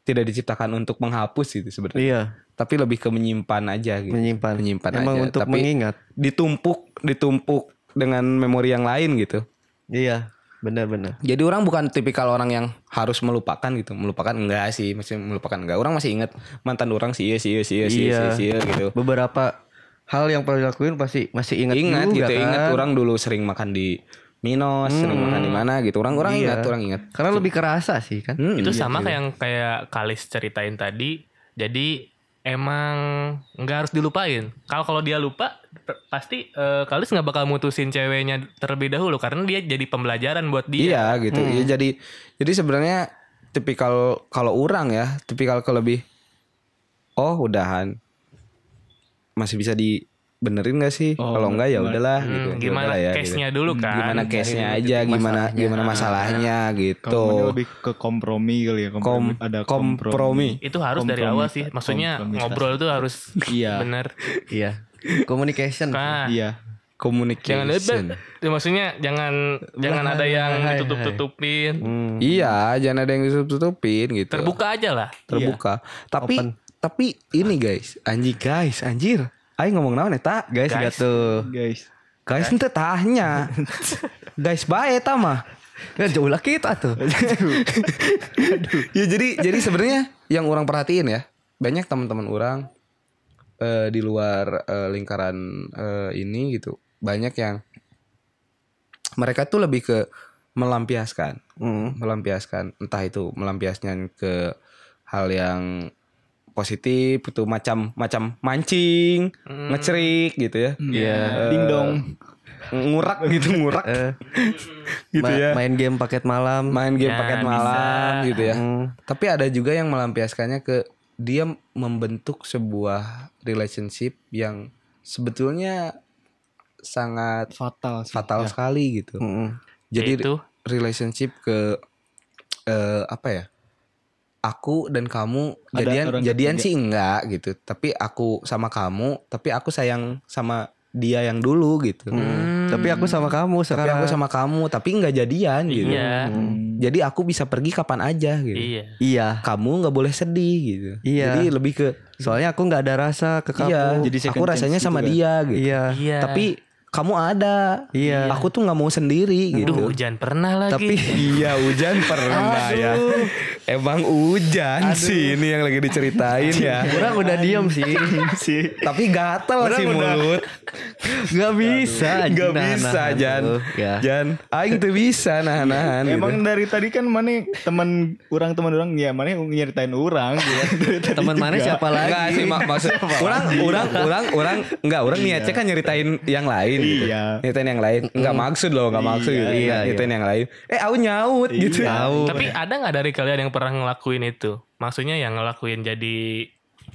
[SPEAKER 2] tidak diciptakan untuk menghapus itu sebenarnya.
[SPEAKER 1] iya
[SPEAKER 2] Tapi lebih ke menyimpan aja gitu.
[SPEAKER 1] menyimpan
[SPEAKER 2] Menyimpan
[SPEAKER 1] emang
[SPEAKER 2] aja,
[SPEAKER 1] untuk
[SPEAKER 2] tapi-
[SPEAKER 1] mengingat
[SPEAKER 2] Ditumpuk, ditumpuk dengan memori yang lain gitu.
[SPEAKER 1] iya benar-benar
[SPEAKER 2] Jadi orang bukan tipikal orang yang harus melupakan gitu. Melupakan enggak sih, masih melupakan enggak. Orang masih inget mantan orang sih, iya sih, iya sih, iya sih, iya,
[SPEAKER 1] Iya.
[SPEAKER 2] sih, iya, gitu.
[SPEAKER 1] beberapa hal yang perlu dilakuin pasti masih ingat
[SPEAKER 2] ingat
[SPEAKER 1] juga
[SPEAKER 2] gitu,
[SPEAKER 1] kan? Hmm.
[SPEAKER 2] ingat orang dulu sering makan di Minos, sering makan di mana gitu.
[SPEAKER 1] Iya.
[SPEAKER 2] Orang-orang ingat, orang ingat.
[SPEAKER 1] karena lebih kerasa sih kan
[SPEAKER 2] Hmm,
[SPEAKER 4] itu
[SPEAKER 2] iya.
[SPEAKER 4] sama kayak yang kayak Kalis ceritain tadi jadi emang nggak harus dilupain kalau kalau dia lupa ter- pasti eh, Kalis nggak bakal mutusin ceweknya terlebih dahulu karena dia jadi pembelajaran buat dia
[SPEAKER 2] Iya gitu.
[SPEAKER 1] Hmm.
[SPEAKER 2] Iya jadi jadi sebenarnya tipikal kalau orang ya, tipikal kalau lebih oh udahan masih bisa dibenerin gak sih?
[SPEAKER 3] Oh,
[SPEAKER 2] kalau enggak ya udahlah
[SPEAKER 4] Hmm,
[SPEAKER 2] gitu. Ya
[SPEAKER 4] gimana
[SPEAKER 2] udahlah ya, gitu.
[SPEAKER 4] case-nya dulu kan
[SPEAKER 2] Gimana case-nya aja, gimana gimana masalahnya gitu.
[SPEAKER 3] Kalau lebih ke kompromi kali ya. Kompromi.
[SPEAKER 2] Kom- kompromi.
[SPEAKER 4] itu harus dari
[SPEAKER 3] Kompromi-
[SPEAKER 4] awal sih maksudnya
[SPEAKER 3] kompromi.
[SPEAKER 4] ngobrol tuh harus
[SPEAKER 3] Iya.
[SPEAKER 4] bener
[SPEAKER 1] iya communication
[SPEAKER 4] Nah,
[SPEAKER 3] Iya.
[SPEAKER 2] communication.
[SPEAKER 4] jangan debat Ya, maksudnya jangan jangan ada yang ditutup-tutupin
[SPEAKER 2] Iya, jangan ada yang ditutup-tutupin gitu.
[SPEAKER 4] terbuka aja lah
[SPEAKER 2] Terbuka. Tapi tapi ini guys, anjing guys, anjir. Ayo ngomong naon eta?
[SPEAKER 1] Guys,
[SPEAKER 4] Guys.
[SPEAKER 1] gitu.
[SPEAKER 3] guys
[SPEAKER 2] Guys ente tanya. guys bae eta mah.
[SPEAKER 1] Kan jauh lah kita tuh.
[SPEAKER 2] ya jadi jadi sebenarnya yang orang perhatiin ya banyak teman-teman orang eh, di luar eh, lingkaran eh, ini gitu banyak yang mereka tuh lebih ke melampiaskan melampiaskan entah itu melampiaskan ke hal yang positif itu macam macam mancing ngecerik gitu ya
[SPEAKER 3] Iya.
[SPEAKER 2] Eh,
[SPEAKER 3] dingdong
[SPEAKER 2] ngurak gitu ngurak
[SPEAKER 1] Eh,
[SPEAKER 2] gitu ya.
[SPEAKER 1] Ma- Main game paket malam. Hmm,
[SPEAKER 2] main game
[SPEAKER 4] Ya,
[SPEAKER 2] paket
[SPEAKER 4] bisa.
[SPEAKER 2] malam gitu ya. Tapi ada juga yang melampiaskannya ke dia membentuk sebuah relationship yang sebetulnya sangat
[SPEAKER 3] fatal sih. Ya.
[SPEAKER 2] fatal sekali gitu.
[SPEAKER 1] hmm,
[SPEAKER 2] Jadi
[SPEAKER 4] Ya.
[SPEAKER 2] gitu.
[SPEAKER 4] Yaitu?
[SPEAKER 2] relationship ke eh, apa ya? Aku dan kamu
[SPEAKER 3] Ada
[SPEAKER 2] jadian
[SPEAKER 3] orang
[SPEAKER 2] jadian
[SPEAKER 3] ketiga.
[SPEAKER 2] sih enggak gitu. Tapi aku sama kamu, tapi aku sayang sama dia yang dulu gitu.
[SPEAKER 1] Tapi aku sama kamu
[SPEAKER 2] Tapi
[SPEAKER 1] sekarang. Hmm.
[SPEAKER 2] aku sama kamu, tapi enggak jadian gitu.
[SPEAKER 4] iya
[SPEAKER 2] Jadi aku bisa pergi kapan aja gitu.
[SPEAKER 4] iya
[SPEAKER 1] Iya.
[SPEAKER 2] kamu nggak boleh sedih gitu.
[SPEAKER 1] Iya.
[SPEAKER 2] Jadi lebih ke
[SPEAKER 1] Soalnya aku nggak ada rasa ke kamu.
[SPEAKER 2] iya,
[SPEAKER 3] Jadi
[SPEAKER 2] aku
[SPEAKER 3] second
[SPEAKER 2] rasanya
[SPEAKER 3] chance
[SPEAKER 2] sama
[SPEAKER 3] gitu kan.
[SPEAKER 2] dia gitu.
[SPEAKER 1] Iya.
[SPEAKER 4] iya
[SPEAKER 2] Tapi kamu ada.
[SPEAKER 1] Iya.
[SPEAKER 2] Aku tuh nggak mau sendiri gitu.
[SPEAKER 4] Duh, hujan pernah lagi.
[SPEAKER 1] Tapi
[SPEAKER 2] Iya hujan pernah ya. Emang hujan sih ini yang lagi diceritain ya.
[SPEAKER 1] Orang Iya. udah diem sih.
[SPEAKER 2] Iya
[SPEAKER 3] sih
[SPEAKER 2] Tapi gatel sih mulut.
[SPEAKER 1] Gak bisa. Jin, Nah,
[SPEAKER 2] Gak
[SPEAKER 1] nahan-nahan
[SPEAKER 2] bisa Jan. Nah,
[SPEAKER 1] tuh. Ya.
[SPEAKER 2] Jan. Aing tuh bisa nahan-nahan gitu.
[SPEAKER 3] Emang dari tadi kan mana teman orang teman orang ya mana nyeritain orang gitu. Dari tadi
[SPEAKER 1] Teman mana
[SPEAKER 3] juga.
[SPEAKER 1] siapa
[SPEAKER 2] Enggak
[SPEAKER 1] lagi?
[SPEAKER 2] sih mak maksud orang orang orang orang enggak orang niatnya kan nyeritain yang lain gitu.
[SPEAKER 3] Iya.
[SPEAKER 2] Nyeritain yang lain. Enggak maksud loh, enggak maksud gitu.
[SPEAKER 1] Iya,
[SPEAKER 2] nyeritain yang lain. Eh, aku nyaut gitu.
[SPEAKER 4] Tapi ada nggak dari kalian yang pernah ngelakuin itu? Maksudnya yang ngelakuin jadi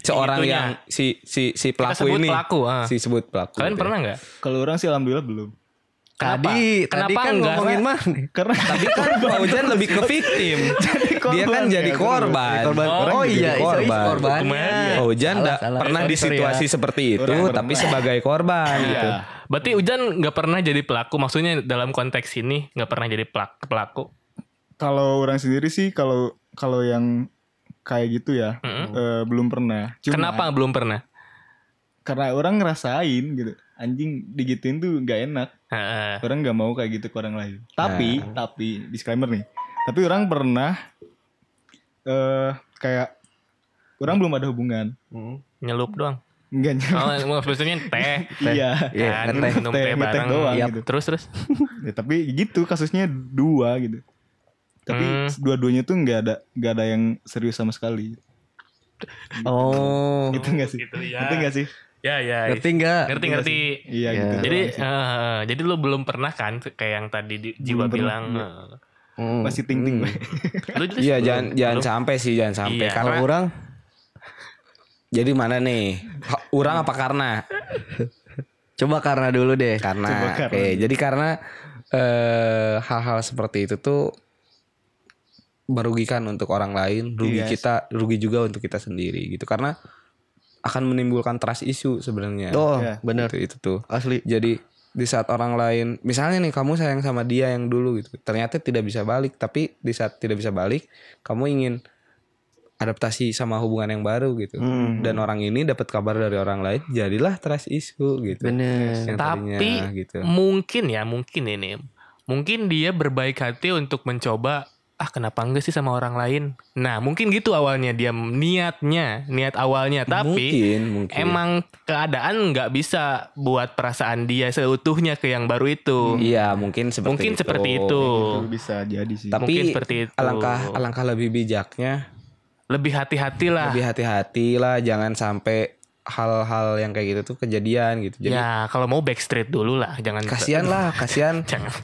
[SPEAKER 2] Seorang
[SPEAKER 4] itunya.
[SPEAKER 2] yang si si si pelaku
[SPEAKER 4] sebut
[SPEAKER 2] ini.
[SPEAKER 4] pelaku, ah.
[SPEAKER 2] Si sebut pelaku.
[SPEAKER 4] kalian
[SPEAKER 2] gitu
[SPEAKER 4] pernah nggak?
[SPEAKER 3] Kalau orang sih alhamdulillah belum.
[SPEAKER 4] Kenapa?
[SPEAKER 1] Tadi,
[SPEAKER 4] Kenapa
[SPEAKER 1] tadi kan
[SPEAKER 4] enggak?
[SPEAKER 1] ngomongin mah
[SPEAKER 3] Karena
[SPEAKER 2] ya. Tapi kan Pak Ujan lebih ke victim. Dia kan
[SPEAKER 3] korban,
[SPEAKER 2] jadi
[SPEAKER 3] ya,
[SPEAKER 2] korban.
[SPEAKER 1] korban.
[SPEAKER 4] Oh,
[SPEAKER 1] Oh,
[SPEAKER 2] jadi
[SPEAKER 1] iya, itu
[SPEAKER 2] korban.
[SPEAKER 1] korbannya.
[SPEAKER 2] Pak Ujan
[SPEAKER 1] Salah,
[SPEAKER 2] nggak
[SPEAKER 1] salah.
[SPEAKER 2] pernah
[SPEAKER 1] Sorry,
[SPEAKER 2] di
[SPEAKER 1] sorry ya.
[SPEAKER 2] situasi seperti itu,
[SPEAKER 3] Orang
[SPEAKER 2] tapi
[SPEAKER 3] pernah.
[SPEAKER 2] sebagai korban
[SPEAKER 3] ya, Iya.
[SPEAKER 2] gitu.
[SPEAKER 4] Berarti Ujan nggak pernah jadi pelaku. Maksudnya dalam konteks ini nggak pernah jadi pelak- pelaku.
[SPEAKER 3] kalau orang sendiri sih kalau kalau yang kayak gitu ya eh, belum pernah. Cuma
[SPEAKER 4] Kenapa belum pernah?
[SPEAKER 3] Karena orang ngerasain gitu. Anjing digituin tuh nggak enak.
[SPEAKER 4] Heeh.
[SPEAKER 3] Orang nggak mau kayak gitu ke orang lain. Tapi
[SPEAKER 2] Nah.
[SPEAKER 3] tapi disclaimer nih. Tapi orang pernah eh kayak orang belum ada hubungan.
[SPEAKER 4] nyelup doang.
[SPEAKER 3] Enggak nyampe.
[SPEAKER 4] Oh, maksudnya teh.
[SPEAKER 3] Iya.
[SPEAKER 1] Iya,
[SPEAKER 4] Kan,
[SPEAKER 1] ngeteh.
[SPEAKER 4] minum teh
[SPEAKER 3] Ngeteh, ngeteh
[SPEAKER 4] bareng.
[SPEAKER 3] doang
[SPEAKER 4] Yap.
[SPEAKER 3] gitu.
[SPEAKER 4] Terus terus.
[SPEAKER 3] Ya, tapi gitu kasusnya dua gitu. Tapi
[SPEAKER 4] Hmm.
[SPEAKER 3] dua-duanya tuh nggak ada nggak ada yang serius sama sekali.
[SPEAKER 1] Oh.
[SPEAKER 3] Gitu nggak sih?
[SPEAKER 4] gitu ya.
[SPEAKER 3] Ngerti nggak sih?
[SPEAKER 4] Ya ya.
[SPEAKER 1] Ngerti nggak?
[SPEAKER 4] Ngerti ngerti.
[SPEAKER 3] Iya
[SPEAKER 1] Ya.
[SPEAKER 3] gitu.
[SPEAKER 4] Jadi eh, jadi lu belum pernah kan kayak yang tadi di- Jiwa bilang.
[SPEAKER 3] iya.
[SPEAKER 4] eh,
[SPEAKER 1] Hmm.
[SPEAKER 3] masih ting-ting gue.
[SPEAKER 4] lu jelas
[SPEAKER 2] Iya,
[SPEAKER 4] belum?
[SPEAKER 2] jangan jangan
[SPEAKER 4] Belum.
[SPEAKER 2] sampai sih, jangan sampai.
[SPEAKER 4] Iya.
[SPEAKER 2] Kalau
[SPEAKER 1] Kalau orang
[SPEAKER 2] Jadi mana nih? Ha- Urang apa karena?
[SPEAKER 1] coba karena dulu deh.
[SPEAKER 2] Karena.
[SPEAKER 3] Coba
[SPEAKER 2] Oke,
[SPEAKER 3] karena.
[SPEAKER 2] jadi karena eh, hal-hal seperti itu tuh merugikan untuk orang lain, rugi
[SPEAKER 3] Iya.
[SPEAKER 2] kita, rugi juga untuk kita sendiri gitu. Karena akan menimbulkan trust issue sebenarnya.
[SPEAKER 1] Oh,
[SPEAKER 3] Ya.
[SPEAKER 1] bener.
[SPEAKER 2] Itu, itu tuh.
[SPEAKER 1] Asli.
[SPEAKER 2] Jadi di saat orang lain, misalnya nih kamu sayang sama dia yang dulu gitu, ternyata tidak bisa balik, tapi di saat tidak bisa balik, kamu ingin adaptasi sama hubungan yang baru gitu. Dan orang ini dapat kabar dari orang lain, jadilah trust issue gitu.
[SPEAKER 1] Bener.
[SPEAKER 2] Yang tadinya
[SPEAKER 4] Tapi
[SPEAKER 2] gitu.
[SPEAKER 4] mungkin ya, mungkin ini. Mungkin dia berbaik hati untuk mencoba ah kenapa enggak sih sama orang lain. Nah, mungkin gitu awalnya dia niatnya, niat awalnya tapi
[SPEAKER 2] mungkin, mungkin.
[SPEAKER 4] emang keadaan nggak bisa buat perasaan dia seutuhnya ke yang baru itu.
[SPEAKER 2] Iya, mungkin seperti
[SPEAKER 4] mungkin
[SPEAKER 2] itu.
[SPEAKER 4] seperti itu.
[SPEAKER 3] Itu bisa jadi sih.
[SPEAKER 2] Tapi
[SPEAKER 4] Mungkin seperti itu.
[SPEAKER 2] alangkah alangkah lebih bijaknya
[SPEAKER 4] Lebih hati-hatilah.
[SPEAKER 2] lebih hati-hati lah jangan sampai hal-hal yang kayak gitu tuh kejadian gitu. Jadi
[SPEAKER 4] Ya, kalau mau backstreet dulu lah, jangan
[SPEAKER 2] kasihan lah, kasihan
[SPEAKER 4] jangan.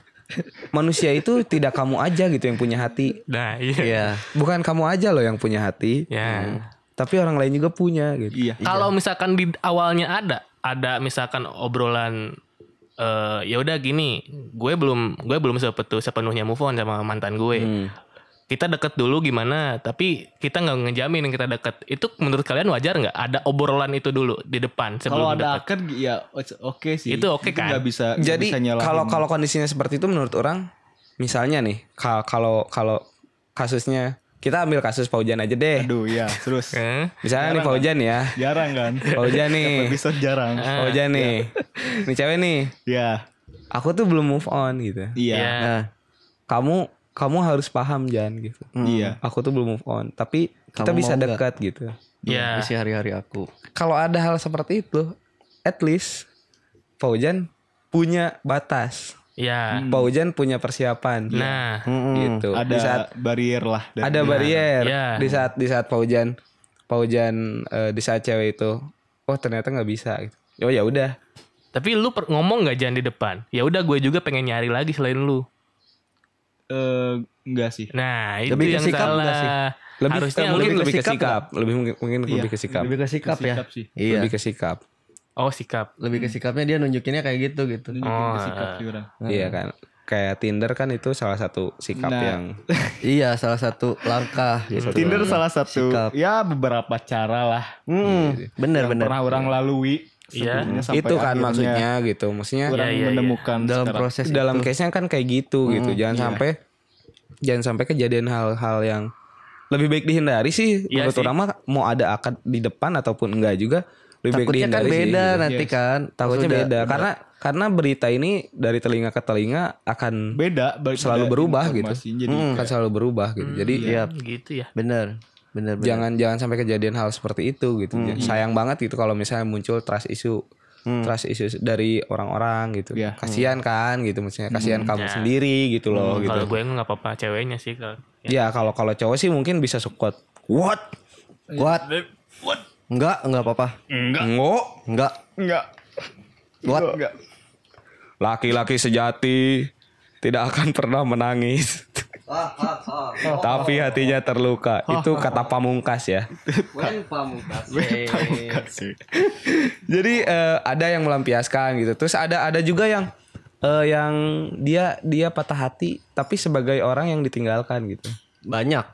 [SPEAKER 2] manusia itu tidak kamu aja gitu yang punya hati.
[SPEAKER 4] Nah, iya.
[SPEAKER 1] Iya.
[SPEAKER 2] Bukan kamu aja loh yang punya hati.
[SPEAKER 4] Ya.
[SPEAKER 2] Hmm. Tapi orang lain juga punya gitu.
[SPEAKER 3] Iya.
[SPEAKER 4] Kalau misalkan di awalnya ada, ada misalkan obrolan eh ya udah gini, gue belum gue belum sepetu sepenuhnya move on sama mantan gue. kita deket dulu gimana tapi kita nggak ngejamin yang kita deket itu menurut kalian wajar nggak ada obrolan itu dulu di depan
[SPEAKER 3] Kalau
[SPEAKER 4] sebelum
[SPEAKER 3] ada akar
[SPEAKER 4] deket
[SPEAKER 3] ya oke sih.
[SPEAKER 4] Itu oke kan?
[SPEAKER 3] Gak bisa nggak
[SPEAKER 2] Jadi
[SPEAKER 3] bisa nyalahin.
[SPEAKER 2] kalau kalau kondisinya seperti itu menurut orang misalnya nih ka- kalau kalau kasusnya kita ambil kasus Paujan aja deh.
[SPEAKER 3] aduh Iya, ya terus
[SPEAKER 4] Eh,
[SPEAKER 2] Misalnya nih Paujan ya.
[SPEAKER 3] jarang kan?
[SPEAKER 2] Paujan nih.
[SPEAKER 3] Episode jarang.
[SPEAKER 4] Ah.
[SPEAKER 2] Paujan nih. Nih cewek nih.
[SPEAKER 3] Ya,
[SPEAKER 2] Aku tuh belum move on gitu.
[SPEAKER 3] iya,
[SPEAKER 4] ya.
[SPEAKER 1] Nah,
[SPEAKER 2] Kamu kamu harus paham Jan gitu.
[SPEAKER 3] iya.
[SPEAKER 2] Aku tuh belum move on, tapi kita
[SPEAKER 1] Kamu mau
[SPEAKER 2] bisa
[SPEAKER 1] nggak?
[SPEAKER 2] dekat gitu.
[SPEAKER 4] Ya.
[SPEAKER 1] isi hari-hari aku.
[SPEAKER 2] Kalau ada hal seperti itu, at least Paujan punya batas.
[SPEAKER 4] ya
[SPEAKER 2] Hmm, Paujan punya persiapan.
[SPEAKER 4] nah
[SPEAKER 2] gitu.
[SPEAKER 3] Ada
[SPEAKER 2] Di saat
[SPEAKER 3] barrier lah. dari-
[SPEAKER 2] ada barrier
[SPEAKER 4] Iya.
[SPEAKER 2] di saat di saat paujan paujan eh, di saat cewek itu oh ternyata nggak bisa gitu. oh ya udah
[SPEAKER 4] tapi lu per- ngomong nggak jangan di depan ya udah gue juga pengen nyari lagi selain lu
[SPEAKER 3] Eh, enggak sih.
[SPEAKER 4] nah itu
[SPEAKER 1] Lebih ke
[SPEAKER 4] yang
[SPEAKER 1] sikap nggak sih?
[SPEAKER 4] salah
[SPEAKER 2] lebih
[SPEAKER 4] harusnya
[SPEAKER 2] mungkin
[SPEAKER 4] lu gitu
[SPEAKER 2] lebih, ke
[SPEAKER 1] sikap
[SPEAKER 2] sikap lebih mungkin, mungkin
[SPEAKER 3] Iya,
[SPEAKER 2] lebih ke sikap
[SPEAKER 1] Lebih ke sikap, ya.
[SPEAKER 3] Sikap sih.
[SPEAKER 1] Iya.
[SPEAKER 2] lebih ke sikap
[SPEAKER 4] oh sikap
[SPEAKER 1] Lebih ke sikapnya dia nunjukinnya kayak gitu gitu.
[SPEAKER 3] Ini bikin sikap sih orang.
[SPEAKER 2] iya kan kayak Tinder kan itu salah satu sikap
[SPEAKER 3] Nah.
[SPEAKER 2] yang
[SPEAKER 1] iya, salah satu langkah gitu.
[SPEAKER 3] Tinder salah satu
[SPEAKER 1] Sikap.
[SPEAKER 3] ya beberapa cara lah
[SPEAKER 1] Hmm, bener
[SPEAKER 3] yang
[SPEAKER 1] bener.
[SPEAKER 3] pernah orang lalui
[SPEAKER 4] Iya.
[SPEAKER 3] sebelumnya sampai
[SPEAKER 2] itu kan
[SPEAKER 3] akhirnya
[SPEAKER 2] maksudnya gitu maksudnya
[SPEAKER 3] orang
[SPEAKER 4] Iya, iya,
[SPEAKER 3] menemukan
[SPEAKER 1] Dalam
[SPEAKER 3] secara-
[SPEAKER 1] proses
[SPEAKER 2] dalam
[SPEAKER 1] itu. Hmm, iya.
[SPEAKER 2] case-nya kan kayak gitu gitu jangan sampai jangan sampai kejadian hal-hal yang lebih baik dihindari sih
[SPEAKER 4] Iya
[SPEAKER 2] menurut
[SPEAKER 4] sih.
[SPEAKER 2] orang mah mau ada akad di depan ataupun enggak juga lebih baik
[SPEAKER 1] takutnya kan
[SPEAKER 2] dihindari sih,
[SPEAKER 1] beda
[SPEAKER 2] gitu.
[SPEAKER 1] nanti kan.
[SPEAKER 2] takutnya
[SPEAKER 1] Sudah-
[SPEAKER 2] beda karena karena berita ini dari telinga ke telinga akan
[SPEAKER 3] beda ba-
[SPEAKER 2] Selalu
[SPEAKER 3] beda
[SPEAKER 2] berubah gitu.
[SPEAKER 3] informasinya, jadi
[SPEAKER 1] Hmm.
[SPEAKER 2] akan selalu berubah gitu jadi
[SPEAKER 1] Iya,
[SPEAKER 4] gitu ya
[SPEAKER 1] bener bener bener.
[SPEAKER 2] jangan jangan sampai kejadian hal seperti itu gitu sayang banget gitu kalau misalnya muncul trust issue trust issue dari orang-orang gitu
[SPEAKER 3] Iya.
[SPEAKER 2] kasihan kan gitu maksudnya kasihan kamu sendiri gitu loh gitu
[SPEAKER 4] Hmm, kalau gue nggak apa-apa ceweknya sih kalau
[SPEAKER 2] Ya kalau kalau cowok sih mungkin bisa sekuat what
[SPEAKER 1] Kuat. Enggak, enggak apa-apa.
[SPEAKER 3] enggak Iya.
[SPEAKER 2] ngo
[SPEAKER 1] Enggak.
[SPEAKER 3] enggak
[SPEAKER 1] Kuat.
[SPEAKER 3] enggak
[SPEAKER 2] laki-laki sejati tidak akan pernah menangis ah. tapi hatinya terluka itu kata pamungkas ya
[SPEAKER 3] Enggak sih.
[SPEAKER 2] jadi eh, ada yang melampiaskan gitu terus ada ada juga yang eh, yang dia dia patah hati tapi sebagai orang yang ditinggalkan gitu
[SPEAKER 1] Banyak.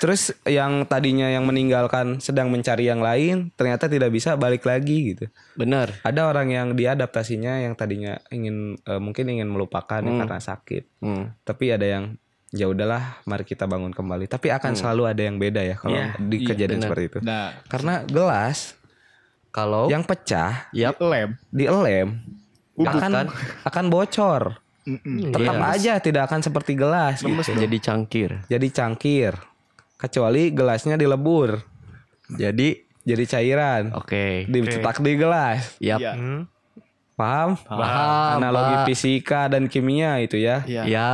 [SPEAKER 2] terus yang tadinya yang meninggalkan sedang mencari yang lain ternyata tidak bisa balik lagi gitu
[SPEAKER 1] Bener.
[SPEAKER 2] ada orang yang dia adaptasinya yang tadinya ingin eh, mungkin ingin melupakan ya karena sakit
[SPEAKER 1] Hmm.
[SPEAKER 2] tapi ada yang ya udahlah mari kita bangun kembali tapi akan selalu ada yang beda ya kalau di kejadian seperti itu
[SPEAKER 3] nah
[SPEAKER 2] karena gelas
[SPEAKER 1] Kalau
[SPEAKER 2] yang pecah
[SPEAKER 1] Yap.
[SPEAKER 3] lem
[SPEAKER 2] dielem akan akan bocor
[SPEAKER 3] Iya.
[SPEAKER 2] tetap aja tidak akan seperti gelas gitu.
[SPEAKER 1] jadi cangkir.
[SPEAKER 2] jadi cangkir kecuali gelasnya dilebur
[SPEAKER 1] Jadi
[SPEAKER 2] jadi cairan
[SPEAKER 1] oke.
[SPEAKER 2] dicetak di gelas
[SPEAKER 1] Yap.
[SPEAKER 3] Iya.
[SPEAKER 4] Hmm.
[SPEAKER 2] paham
[SPEAKER 1] Paham,
[SPEAKER 2] analogi
[SPEAKER 1] Pak.
[SPEAKER 2] fisika dan kimia itu ya
[SPEAKER 3] Iya.
[SPEAKER 1] Ya.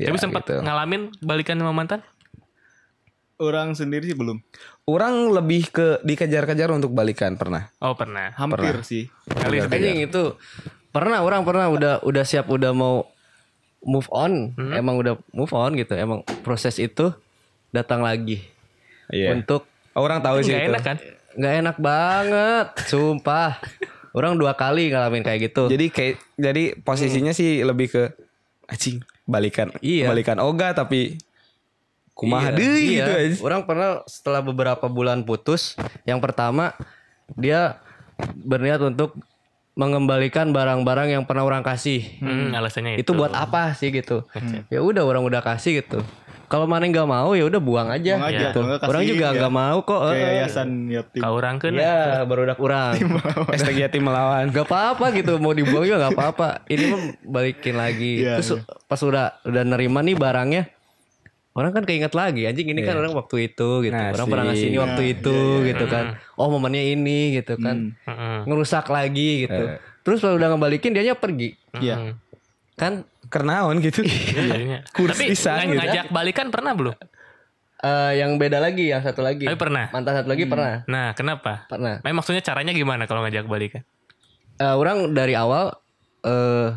[SPEAKER 2] Ya,
[SPEAKER 4] tapi sempat
[SPEAKER 2] gitu.
[SPEAKER 4] ngalamin balikan sama mantan
[SPEAKER 3] orang sendiri sih belum
[SPEAKER 2] Orang lebih ke dikejar-kejar untuk balikan pernah.
[SPEAKER 4] oh pernah
[SPEAKER 3] hampir sih
[SPEAKER 4] kali
[SPEAKER 1] Anjing itu pernah orang pernah udah udah siap udah mau move on,
[SPEAKER 4] Hmm?
[SPEAKER 1] emang udah move on gitu. Emang proses itu datang lagi
[SPEAKER 2] Iya.
[SPEAKER 1] untuk
[SPEAKER 2] Orang tahu sih
[SPEAKER 4] nggak
[SPEAKER 2] itu.
[SPEAKER 4] enak kan
[SPEAKER 1] nggak enak banget, sumpah. Orang dua kali ngalamin kayak gitu.
[SPEAKER 2] Jadi kayak jadi posisinya sih lebih ke anjing balikan.
[SPEAKER 1] Iya.
[SPEAKER 2] Balikan oga tapi kumaha
[SPEAKER 1] Iya,
[SPEAKER 2] deui
[SPEAKER 1] iya.
[SPEAKER 2] gitu anjing.
[SPEAKER 1] Orang pernah setelah beberapa bulan putus, yang pertama dia berniat untuk mengembalikan barang-barang yang pernah orang kasih.
[SPEAKER 4] Hmm, alasannya itu
[SPEAKER 1] Itu buat apa sih gitu? Ya udah orang udah kasih gitu. Kalau mana nggak mau ya udah buang aja.
[SPEAKER 3] Buang aja,
[SPEAKER 1] gitu.
[SPEAKER 3] kalau nggak
[SPEAKER 1] Orang
[SPEAKER 3] kasihin
[SPEAKER 1] juga
[SPEAKER 3] ya. iya.
[SPEAKER 1] nggak mau kok.
[SPEAKER 3] Kayak
[SPEAKER 1] eh,
[SPEAKER 3] yayasan yatim
[SPEAKER 4] ke orang kan
[SPEAKER 1] Ya baru udah kurang.
[SPEAKER 2] Hashtag yatim melawan.
[SPEAKER 1] Gak apa-apa gitu mau dibuang juga gak apa-apa. Ini mah balikin lagi.
[SPEAKER 3] Iya,
[SPEAKER 1] Terus pas udah udah nerima nih barangnya, orang kan keinget lagi. Anjing ini kan orang waktu itu gitu. Orang pernah ngasih ini waktu
[SPEAKER 3] Iya,
[SPEAKER 1] itu gitu kan. Oh momennya ini gitu kan.
[SPEAKER 3] Hmm.
[SPEAKER 4] Mm-mm.
[SPEAKER 1] Ngerusak lagi gitu. Terus kalau udah ngebalikin dianya pergi.
[SPEAKER 3] Iya.
[SPEAKER 1] Kan
[SPEAKER 2] Kernaon gitu.
[SPEAKER 4] Iya, jadinya. tapi
[SPEAKER 2] pisan
[SPEAKER 4] ng-
[SPEAKER 2] gitu.
[SPEAKER 4] ngajak balikan pernah belum
[SPEAKER 1] eh, yang beda lagi, yang satu lagi.
[SPEAKER 4] Tapi pernah.
[SPEAKER 1] Mantan satu lagi pernah.
[SPEAKER 4] nah kenapa
[SPEAKER 1] Pernah.
[SPEAKER 4] Nah, maksudnya caranya gimana kalau ngajak balikan
[SPEAKER 1] Eh, orang dari awal eh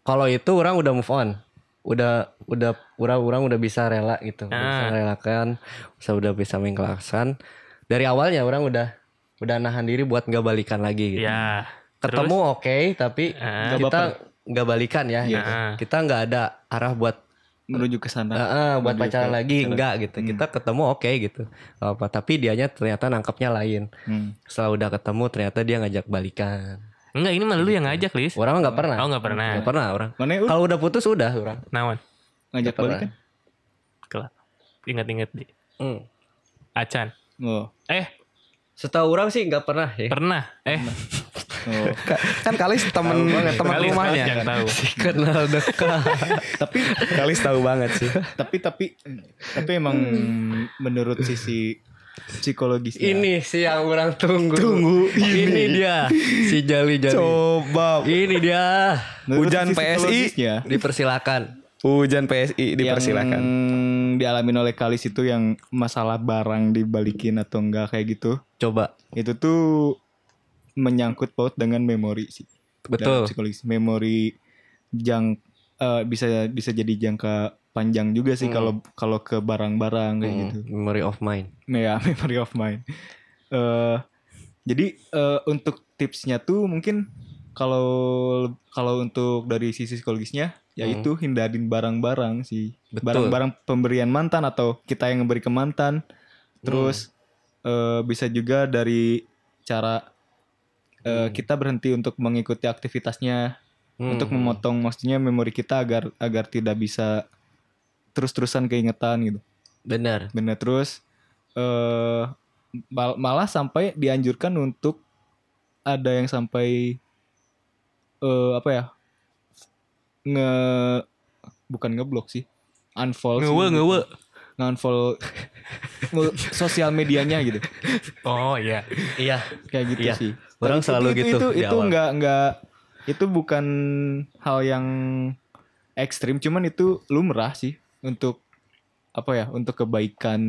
[SPEAKER 1] kalau itu orang udah move on udah udah orang orang udah bisa rela gitu udah bisa relakan bisa udah bisa mengikhlaskan dari awalnya orang udah udah nahan diri buat nggak balikan lagi gitu
[SPEAKER 4] ya
[SPEAKER 1] ketemu oke tapi kita nggak balikan ya gitu. kita nggak ada arah buat
[SPEAKER 3] menuju ke sana.
[SPEAKER 1] Heeh, buat pacaran lagi enggak gitu.
[SPEAKER 3] Hmm.
[SPEAKER 1] Kita ketemu oke gitu. Nggak apa tapi dianya ternyata nangkapnya lain.
[SPEAKER 3] Hmm.
[SPEAKER 1] Setelah udah ketemu ternyata dia ngajak balikan.
[SPEAKER 4] Enggak, ini malah lu yang ngajak, Lis.
[SPEAKER 1] Orang mah nggak pernah.
[SPEAKER 4] Oh, nggak pernah.
[SPEAKER 1] Nggak pernah orang.
[SPEAKER 3] Mana Ur?
[SPEAKER 1] Kalau udah putus udah orang.
[SPEAKER 4] Nawan.
[SPEAKER 3] ngajak
[SPEAKER 1] pernah.
[SPEAKER 3] balik kan?
[SPEAKER 4] Nah, Kelak. Ingat-ingat di.
[SPEAKER 1] Hmm.
[SPEAKER 4] Acan.
[SPEAKER 3] Oh.
[SPEAKER 4] Eh,
[SPEAKER 1] Setahu orang sih nggak pernah ya.
[SPEAKER 4] pernah. Eh,
[SPEAKER 3] oh.
[SPEAKER 2] Ka- kan Kalis temen teman
[SPEAKER 4] Kalis,
[SPEAKER 2] rumahnya
[SPEAKER 4] Kalis yang tahu.
[SPEAKER 1] Kenal dekat.
[SPEAKER 3] tapi
[SPEAKER 2] Kalis tahu banget sih
[SPEAKER 3] tapi tapi tapi emang menurut sisi psikologis
[SPEAKER 4] Iya.
[SPEAKER 1] Ini sih yang orang tunggu. Tunggu. Ini, dia si Jali Jali.
[SPEAKER 2] coba
[SPEAKER 1] Ini dia.
[SPEAKER 2] Hujan PSI.
[SPEAKER 3] ya
[SPEAKER 1] Dipersilakan.
[SPEAKER 2] hujan PSI
[SPEAKER 3] yang
[SPEAKER 2] dipersilakan
[SPEAKER 3] dialamin oleh Kalis itu yang masalah barang dibalikin atau enggak kayak gitu
[SPEAKER 1] Coba.
[SPEAKER 3] itu tuh menyangkut paut dengan memori sih Dalam
[SPEAKER 1] Betul.
[SPEAKER 3] psikologis memori jang eh, bisa bisa jadi jangka panjang juga sih kalau kalau ke barang-barang kayak
[SPEAKER 1] Hmm,
[SPEAKER 3] gitu
[SPEAKER 1] Memory of mind.
[SPEAKER 3] Ya, memory of mine. eh jadi eh, untuk tipsnya tuh mungkin kalau kalau untuk dari sisi psikologisnya yaitu hindarin barang-barang sih.
[SPEAKER 1] Hmm. Betul.
[SPEAKER 3] Barang-barang pemberian mantan atau kita yang ngeberi ke mantan. Terus
[SPEAKER 1] Hmm.
[SPEAKER 3] eh, bisa juga dari cara eh, kita berhenti untuk mengikuti aktivitasnya
[SPEAKER 1] Hmm.
[SPEAKER 3] untuk memotong maksudnya memori kita agar agar tidak bisa terus-terusan keingetan gitu.
[SPEAKER 1] Benar.
[SPEAKER 3] Bener terus eh mal- malah sampai dianjurkan untuk ada yang sampai eh apa ya nge bukan ngeblok sih unfollow
[SPEAKER 4] Ngewe,
[SPEAKER 3] sih, gitu.
[SPEAKER 4] ngewe.
[SPEAKER 3] unfollow sosial medianya gitu
[SPEAKER 4] Oh, iya.
[SPEAKER 1] Iya.
[SPEAKER 3] kayak gitu
[SPEAKER 1] Iya,
[SPEAKER 3] sih.
[SPEAKER 1] orang
[SPEAKER 3] Tapi
[SPEAKER 1] selalu
[SPEAKER 3] itu,
[SPEAKER 1] gitu
[SPEAKER 3] Itu
[SPEAKER 1] di
[SPEAKER 3] itu
[SPEAKER 1] awal.
[SPEAKER 3] nggak nggak itu bukan hal yang ekstrim, cuman itu lumrah sih untuk apa ya untuk kebaikan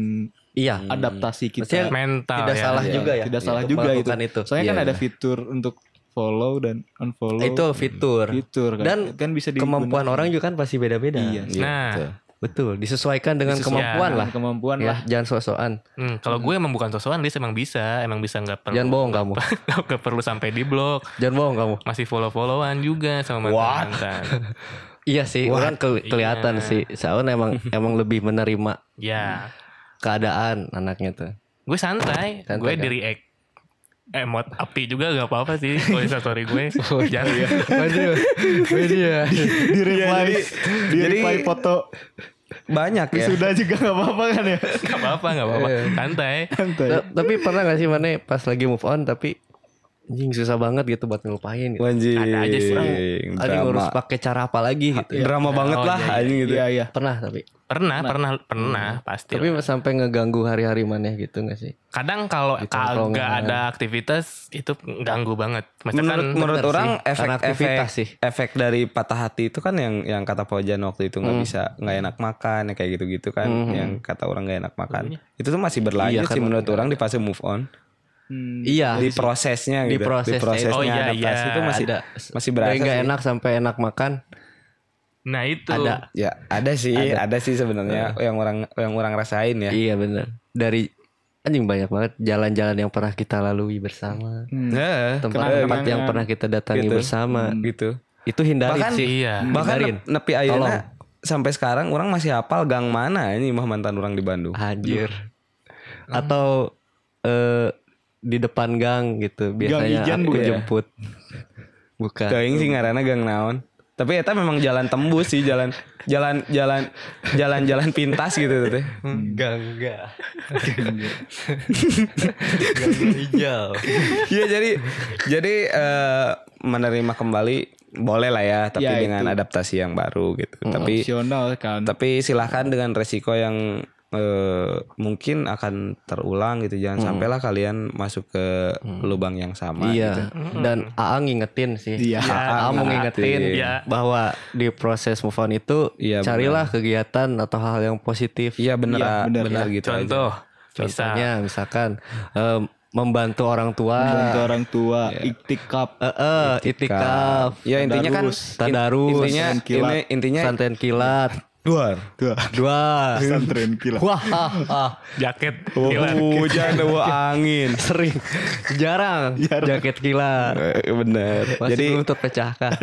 [SPEAKER 1] Iya.
[SPEAKER 3] adaptasi kita.
[SPEAKER 1] Maksudnya
[SPEAKER 4] Mental
[SPEAKER 1] Tidak
[SPEAKER 4] ya.
[SPEAKER 1] salah
[SPEAKER 3] Iya,
[SPEAKER 1] juga ya.
[SPEAKER 3] Tidak salah
[SPEAKER 1] Untuk
[SPEAKER 3] juga itu.
[SPEAKER 1] melakukan itu.
[SPEAKER 3] Soalnya
[SPEAKER 1] Iya,
[SPEAKER 3] kan ada
[SPEAKER 1] benar.
[SPEAKER 3] fitur untuk follow dan unfollow.
[SPEAKER 1] Itu fitur.
[SPEAKER 3] fitur kan.
[SPEAKER 1] Dan
[SPEAKER 3] kan bisa
[SPEAKER 1] Kemampuan
[SPEAKER 3] digunakan.
[SPEAKER 1] orang juga kan pasti beda-beda.
[SPEAKER 3] Iya.
[SPEAKER 2] Iya,
[SPEAKER 4] Nah.
[SPEAKER 1] Gitu.
[SPEAKER 2] betul.
[SPEAKER 1] Betul. Disesuaikan dengan kemampuan lah.
[SPEAKER 3] kemampuan
[SPEAKER 1] Ya,
[SPEAKER 3] lah.
[SPEAKER 1] jangan sok-sokan.
[SPEAKER 4] Hmm, kalau gue emang bukan sosokan, Lis emang bisa, emang bisa nggak perlu.
[SPEAKER 1] Jangan bohong kamu.
[SPEAKER 4] nggak perlu sampai di blok.
[SPEAKER 1] Jangan bohong kamu.
[SPEAKER 4] Masih follow-followan juga sama mantan. mantan.
[SPEAKER 1] Iya sih, orang ke- kelihatan sih. Saun emang emang lebih menerima
[SPEAKER 4] ya,
[SPEAKER 1] keadaan anaknya tuh.
[SPEAKER 4] gue santai.
[SPEAKER 1] Santai,
[SPEAKER 4] gue
[SPEAKER 1] kan?
[SPEAKER 4] di react emot api juga gak apa-apa sih kalau story gue
[SPEAKER 1] Oh, iya.
[SPEAKER 4] jangan
[SPEAKER 1] Waduh, media.
[SPEAKER 3] Iya. Di reply, di
[SPEAKER 2] jadi-
[SPEAKER 3] reply foto
[SPEAKER 2] banyak ya
[SPEAKER 1] Iya.
[SPEAKER 3] sudah juga nggak apa-apa kan ya. Kan
[SPEAKER 4] gak apa-apa gak apa-apa santai
[SPEAKER 3] Santai.
[SPEAKER 1] tapi pernah gak sih Mane pas lagi move on tapi anjing susah banget gitu buat ngelupain gitu.
[SPEAKER 2] Anjing,
[SPEAKER 4] Ada aja sih.
[SPEAKER 1] Anjing harus
[SPEAKER 2] drama,
[SPEAKER 1] pakai cara apa lagi gitu.
[SPEAKER 2] drama banget
[SPEAKER 4] Oh,
[SPEAKER 2] lah
[SPEAKER 4] iya, iya.
[SPEAKER 2] anjing gitu
[SPEAKER 3] Iya iya.
[SPEAKER 1] Pernah tapi
[SPEAKER 4] pernah pernah pernah pasti
[SPEAKER 1] Hmm. tapi sampai ngeganggu hari-hari Mane gitu gak sih?
[SPEAKER 4] kadang kalau
[SPEAKER 1] tongkrongan.
[SPEAKER 4] kagak ada aktivitas itu ganggu banget kan
[SPEAKER 2] menurut
[SPEAKER 4] misalkan
[SPEAKER 2] menurut
[SPEAKER 1] sih.
[SPEAKER 2] orang efek
[SPEAKER 1] Karena
[SPEAKER 2] efek
[SPEAKER 1] aktivitas sih.
[SPEAKER 2] efek dari patah hati itu kan yang yang kata Pojan waktu itu nggak bisa nggak enak makan ya kayak gitu gitu kan yang kata orang nggak enak makan itu tuh masih berlanjut
[SPEAKER 1] Iya,
[SPEAKER 2] sih
[SPEAKER 1] karena-
[SPEAKER 2] menurut orang di fase move on
[SPEAKER 3] Hmm,
[SPEAKER 1] Iya.
[SPEAKER 2] di prosesnya
[SPEAKER 1] Di
[SPEAKER 2] gitu
[SPEAKER 1] prosesnya.
[SPEAKER 2] prosesnya
[SPEAKER 4] Oh, iya,
[SPEAKER 2] adaptasi
[SPEAKER 4] iya.
[SPEAKER 2] itu masih
[SPEAKER 1] ada
[SPEAKER 2] masih berasa
[SPEAKER 1] dari nggak
[SPEAKER 2] sih.
[SPEAKER 1] enak sampai enak makan
[SPEAKER 4] nah itu
[SPEAKER 1] ada
[SPEAKER 2] ya ada sih ada, sih sebenarnya yang orang yang orang rasain ya
[SPEAKER 1] iya bener dari anjing banyak banget jalan-jalan yang pernah kita lalui bersama
[SPEAKER 3] Nah, Hmm.
[SPEAKER 2] Heeh,
[SPEAKER 1] Iya. tempat-tempat
[SPEAKER 3] kenangan.
[SPEAKER 1] yang pernah kita datangi
[SPEAKER 2] Gitu.
[SPEAKER 1] bersama
[SPEAKER 2] gitu
[SPEAKER 1] itu hindarin
[SPEAKER 2] Bahkan-
[SPEAKER 1] sih
[SPEAKER 4] iya
[SPEAKER 2] bahkan
[SPEAKER 1] Hindarin.
[SPEAKER 2] nep- nepi
[SPEAKER 1] Tolong.
[SPEAKER 2] ayeuna sampai sekarang orang masih hafal gang mana ini mah mantan orang di Bandung
[SPEAKER 1] Anjir.
[SPEAKER 2] Hmm.
[SPEAKER 1] Atau eh, di depan gang gitu biasanya
[SPEAKER 3] Ijan
[SPEAKER 1] aku
[SPEAKER 3] bukan ya?
[SPEAKER 1] jemput. Bukan.
[SPEAKER 2] Geuing sih ngaranna gang naon. Tapi eta memang jalan tembus sih, jalan jalan jalan jalan jalan pintas gitu tuh. teh.
[SPEAKER 4] Hmm.
[SPEAKER 1] Gangga. Gangga hijau.
[SPEAKER 2] Iya jadi jadi eh, menerima kembali boleh lah ya, tapi
[SPEAKER 3] Ya,
[SPEAKER 2] dengan
[SPEAKER 3] itu.
[SPEAKER 2] adaptasi yang baru gitu. Tapi
[SPEAKER 3] Opsional kan.
[SPEAKER 2] tapi silahkan dengan resiko yang eh, mungkin akan terulang gitu. Jangan sampailah kalian masuk ke lubang yang sama. gitu.
[SPEAKER 1] Iya. Dan AA ngingetin sih.
[SPEAKER 3] Iya.
[SPEAKER 1] AA mau ngingetin
[SPEAKER 4] Iya.
[SPEAKER 1] bahwa di proses move on itu
[SPEAKER 2] Iya,
[SPEAKER 1] carilah kegiatan atau hal yang positif.
[SPEAKER 2] Iya bener,
[SPEAKER 3] Iya,
[SPEAKER 2] ah,
[SPEAKER 3] bener.
[SPEAKER 2] bener, gitu aja.
[SPEAKER 4] contoh bisa
[SPEAKER 1] Contohnya misalkan eh, membantu orang tua.
[SPEAKER 3] Bantu orang tua, iktikaf.
[SPEAKER 1] Eh, eh, itikaf.
[SPEAKER 2] Ya intinya kan
[SPEAKER 1] Tadarus.
[SPEAKER 3] Tadarus.
[SPEAKER 2] intinya
[SPEAKER 3] Santrian kilat.
[SPEAKER 2] ini- intinya
[SPEAKER 1] Santen kilat.
[SPEAKER 2] duar.
[SPEAKER 3] Dua.
[SPEAKER 1] Dua.
[SPEAKER 3] Pesantren gila.
[SPEAKER 1] Wah, ah, ah.
[SPEAKER 4] jaket kilat.
[SPEAKER 2] Hujan, dewa angin.
[SPEAKER 1] sering jarang, jaket kilat.
[SPEAKER 2] Eh, Bener.
[SPEAKER 1] Masih
[SPEAKER 2] Jadi
[SPEAKER 1] belum terpecahkan.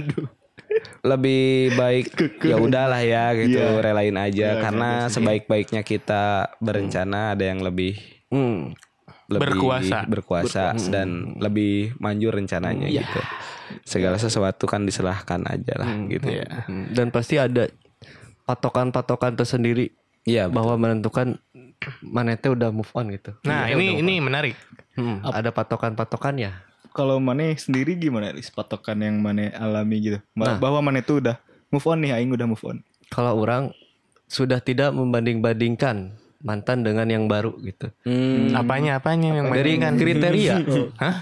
[SPEAKER 2] lebih baik ya udahlah ya gitu
[SPEAKER 3] Iya.
[SPEAKER 2] relain aja
[SPEAKER 3] Iya,
[SPEAKER 2] karena sebaik-baiknya kita berencana ada yang lebih
[SPEAKER 1] Hmm.
[SPEAKER 2] lebih
[SPEAKER 4] Berkuasa.
[SPEAKER 2] berkuasa dan lebih manjur rencananya gitu segala sesuatu kan diserahkan aja lah gitu ya
[SPEAKER 1] Hmm. Dan pasti ada patokan-patokan tersendiri
[SPEAKER 2] iya
[SPEAKER 1] bahwa menentukan manete udah move on gitu.
[SPEAKER 4] Nah,
[SPEAKER 2] Iya,
[SPEAKER 4] ini ini menarik.
[SPEAKER 1] Hmm, ada patokan-patokannya.
[SPEAKER 3] Kalau Mane sendiri gimana Lis? Patokan yang Mane alami gitu.
[SPEAKER 1] Nah.
[SPEAKER 3] Ba- Bahwa Mane tuh udah move on nih, aing udah move on.
[SPEAKER 1] Kalau orang sudah tidak membanding-bandingkan mantan dengan yang baru gitu.
[SPEAKER 2] Hmm.
[SPEAKER 4] Apanya apanya yang
[SPEAKER 2] dari
[SPEAKER 4] main?
[SPEAKER 2] kriteria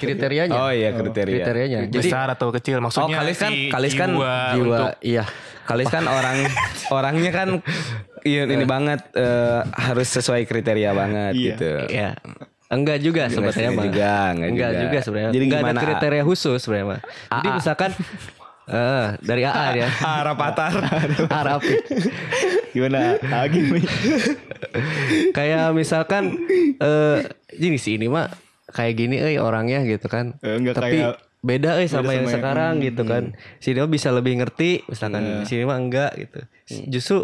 [SPEAKER 1] Kriterianya.
[SPEAKER 2] oh iya kriteria,
[SPEAKER 1] kriterianya. Jadi
[SPEAKER 4] besar atau kecil
[SPEAKER 2] Oh,
[SPEAKER 4] maksudnya
[SPEAKER 2] Kalis kan-
[SPEAKER 4] si
[SPEAKER 2] Kalis kan
[SPEAKER 4] jiwa,
[SPEAKER 1] jiwa
[SPEAKER 4] untuk
[SPEAKER 1] iya.
[SPEAKER 2] Kalis kan orang orangnya kan iya, ini banget eh, harus sesuai kriteria banget
[SPEAKER 3] Iya.
[SPEAKER 2] gitu
[SPEAKER 1] Iya. Enggak juga sebenarnya mah.
[SPEAKER 2] Enggak Iya, juga, enggak
[SPEAKER 1] Enggak
[SPEAKER 2] juga.
[SPEAKER 1] juga, sebenarnya.
[SPEAKER 2] Jadi
[SPEAKER 1] enggak ada
[SPEAKER 2] gimana, A?
[SPEAKER 1] kriteria khusus sebenarnya mah. Jadi misalkan eh dari AA ya.
[SPEAKER 2] harapatar
[SPEAKER 1] Arab.
[SPEAKER 3] Gimana? Agi nih.
[SPEAKER 1] kayak misalkan eh gini sih ini mah kayak gini eh orangnya gitu kan.
[SPEAKER 3] Eh, enggak
[SPEAKER 1] Tapi
[SPEAKER 3] kayak-
[SPEAKER 1] beda eh sama
[SPEAKER 3] beda
[SPEAKER 1] yang
[SPEAKER 3] sama yang-
[SPEAKER 1] sekarang gitu kan. Sini mah bisa lebih ngerti misalkan sini mah enggak gitu. Justru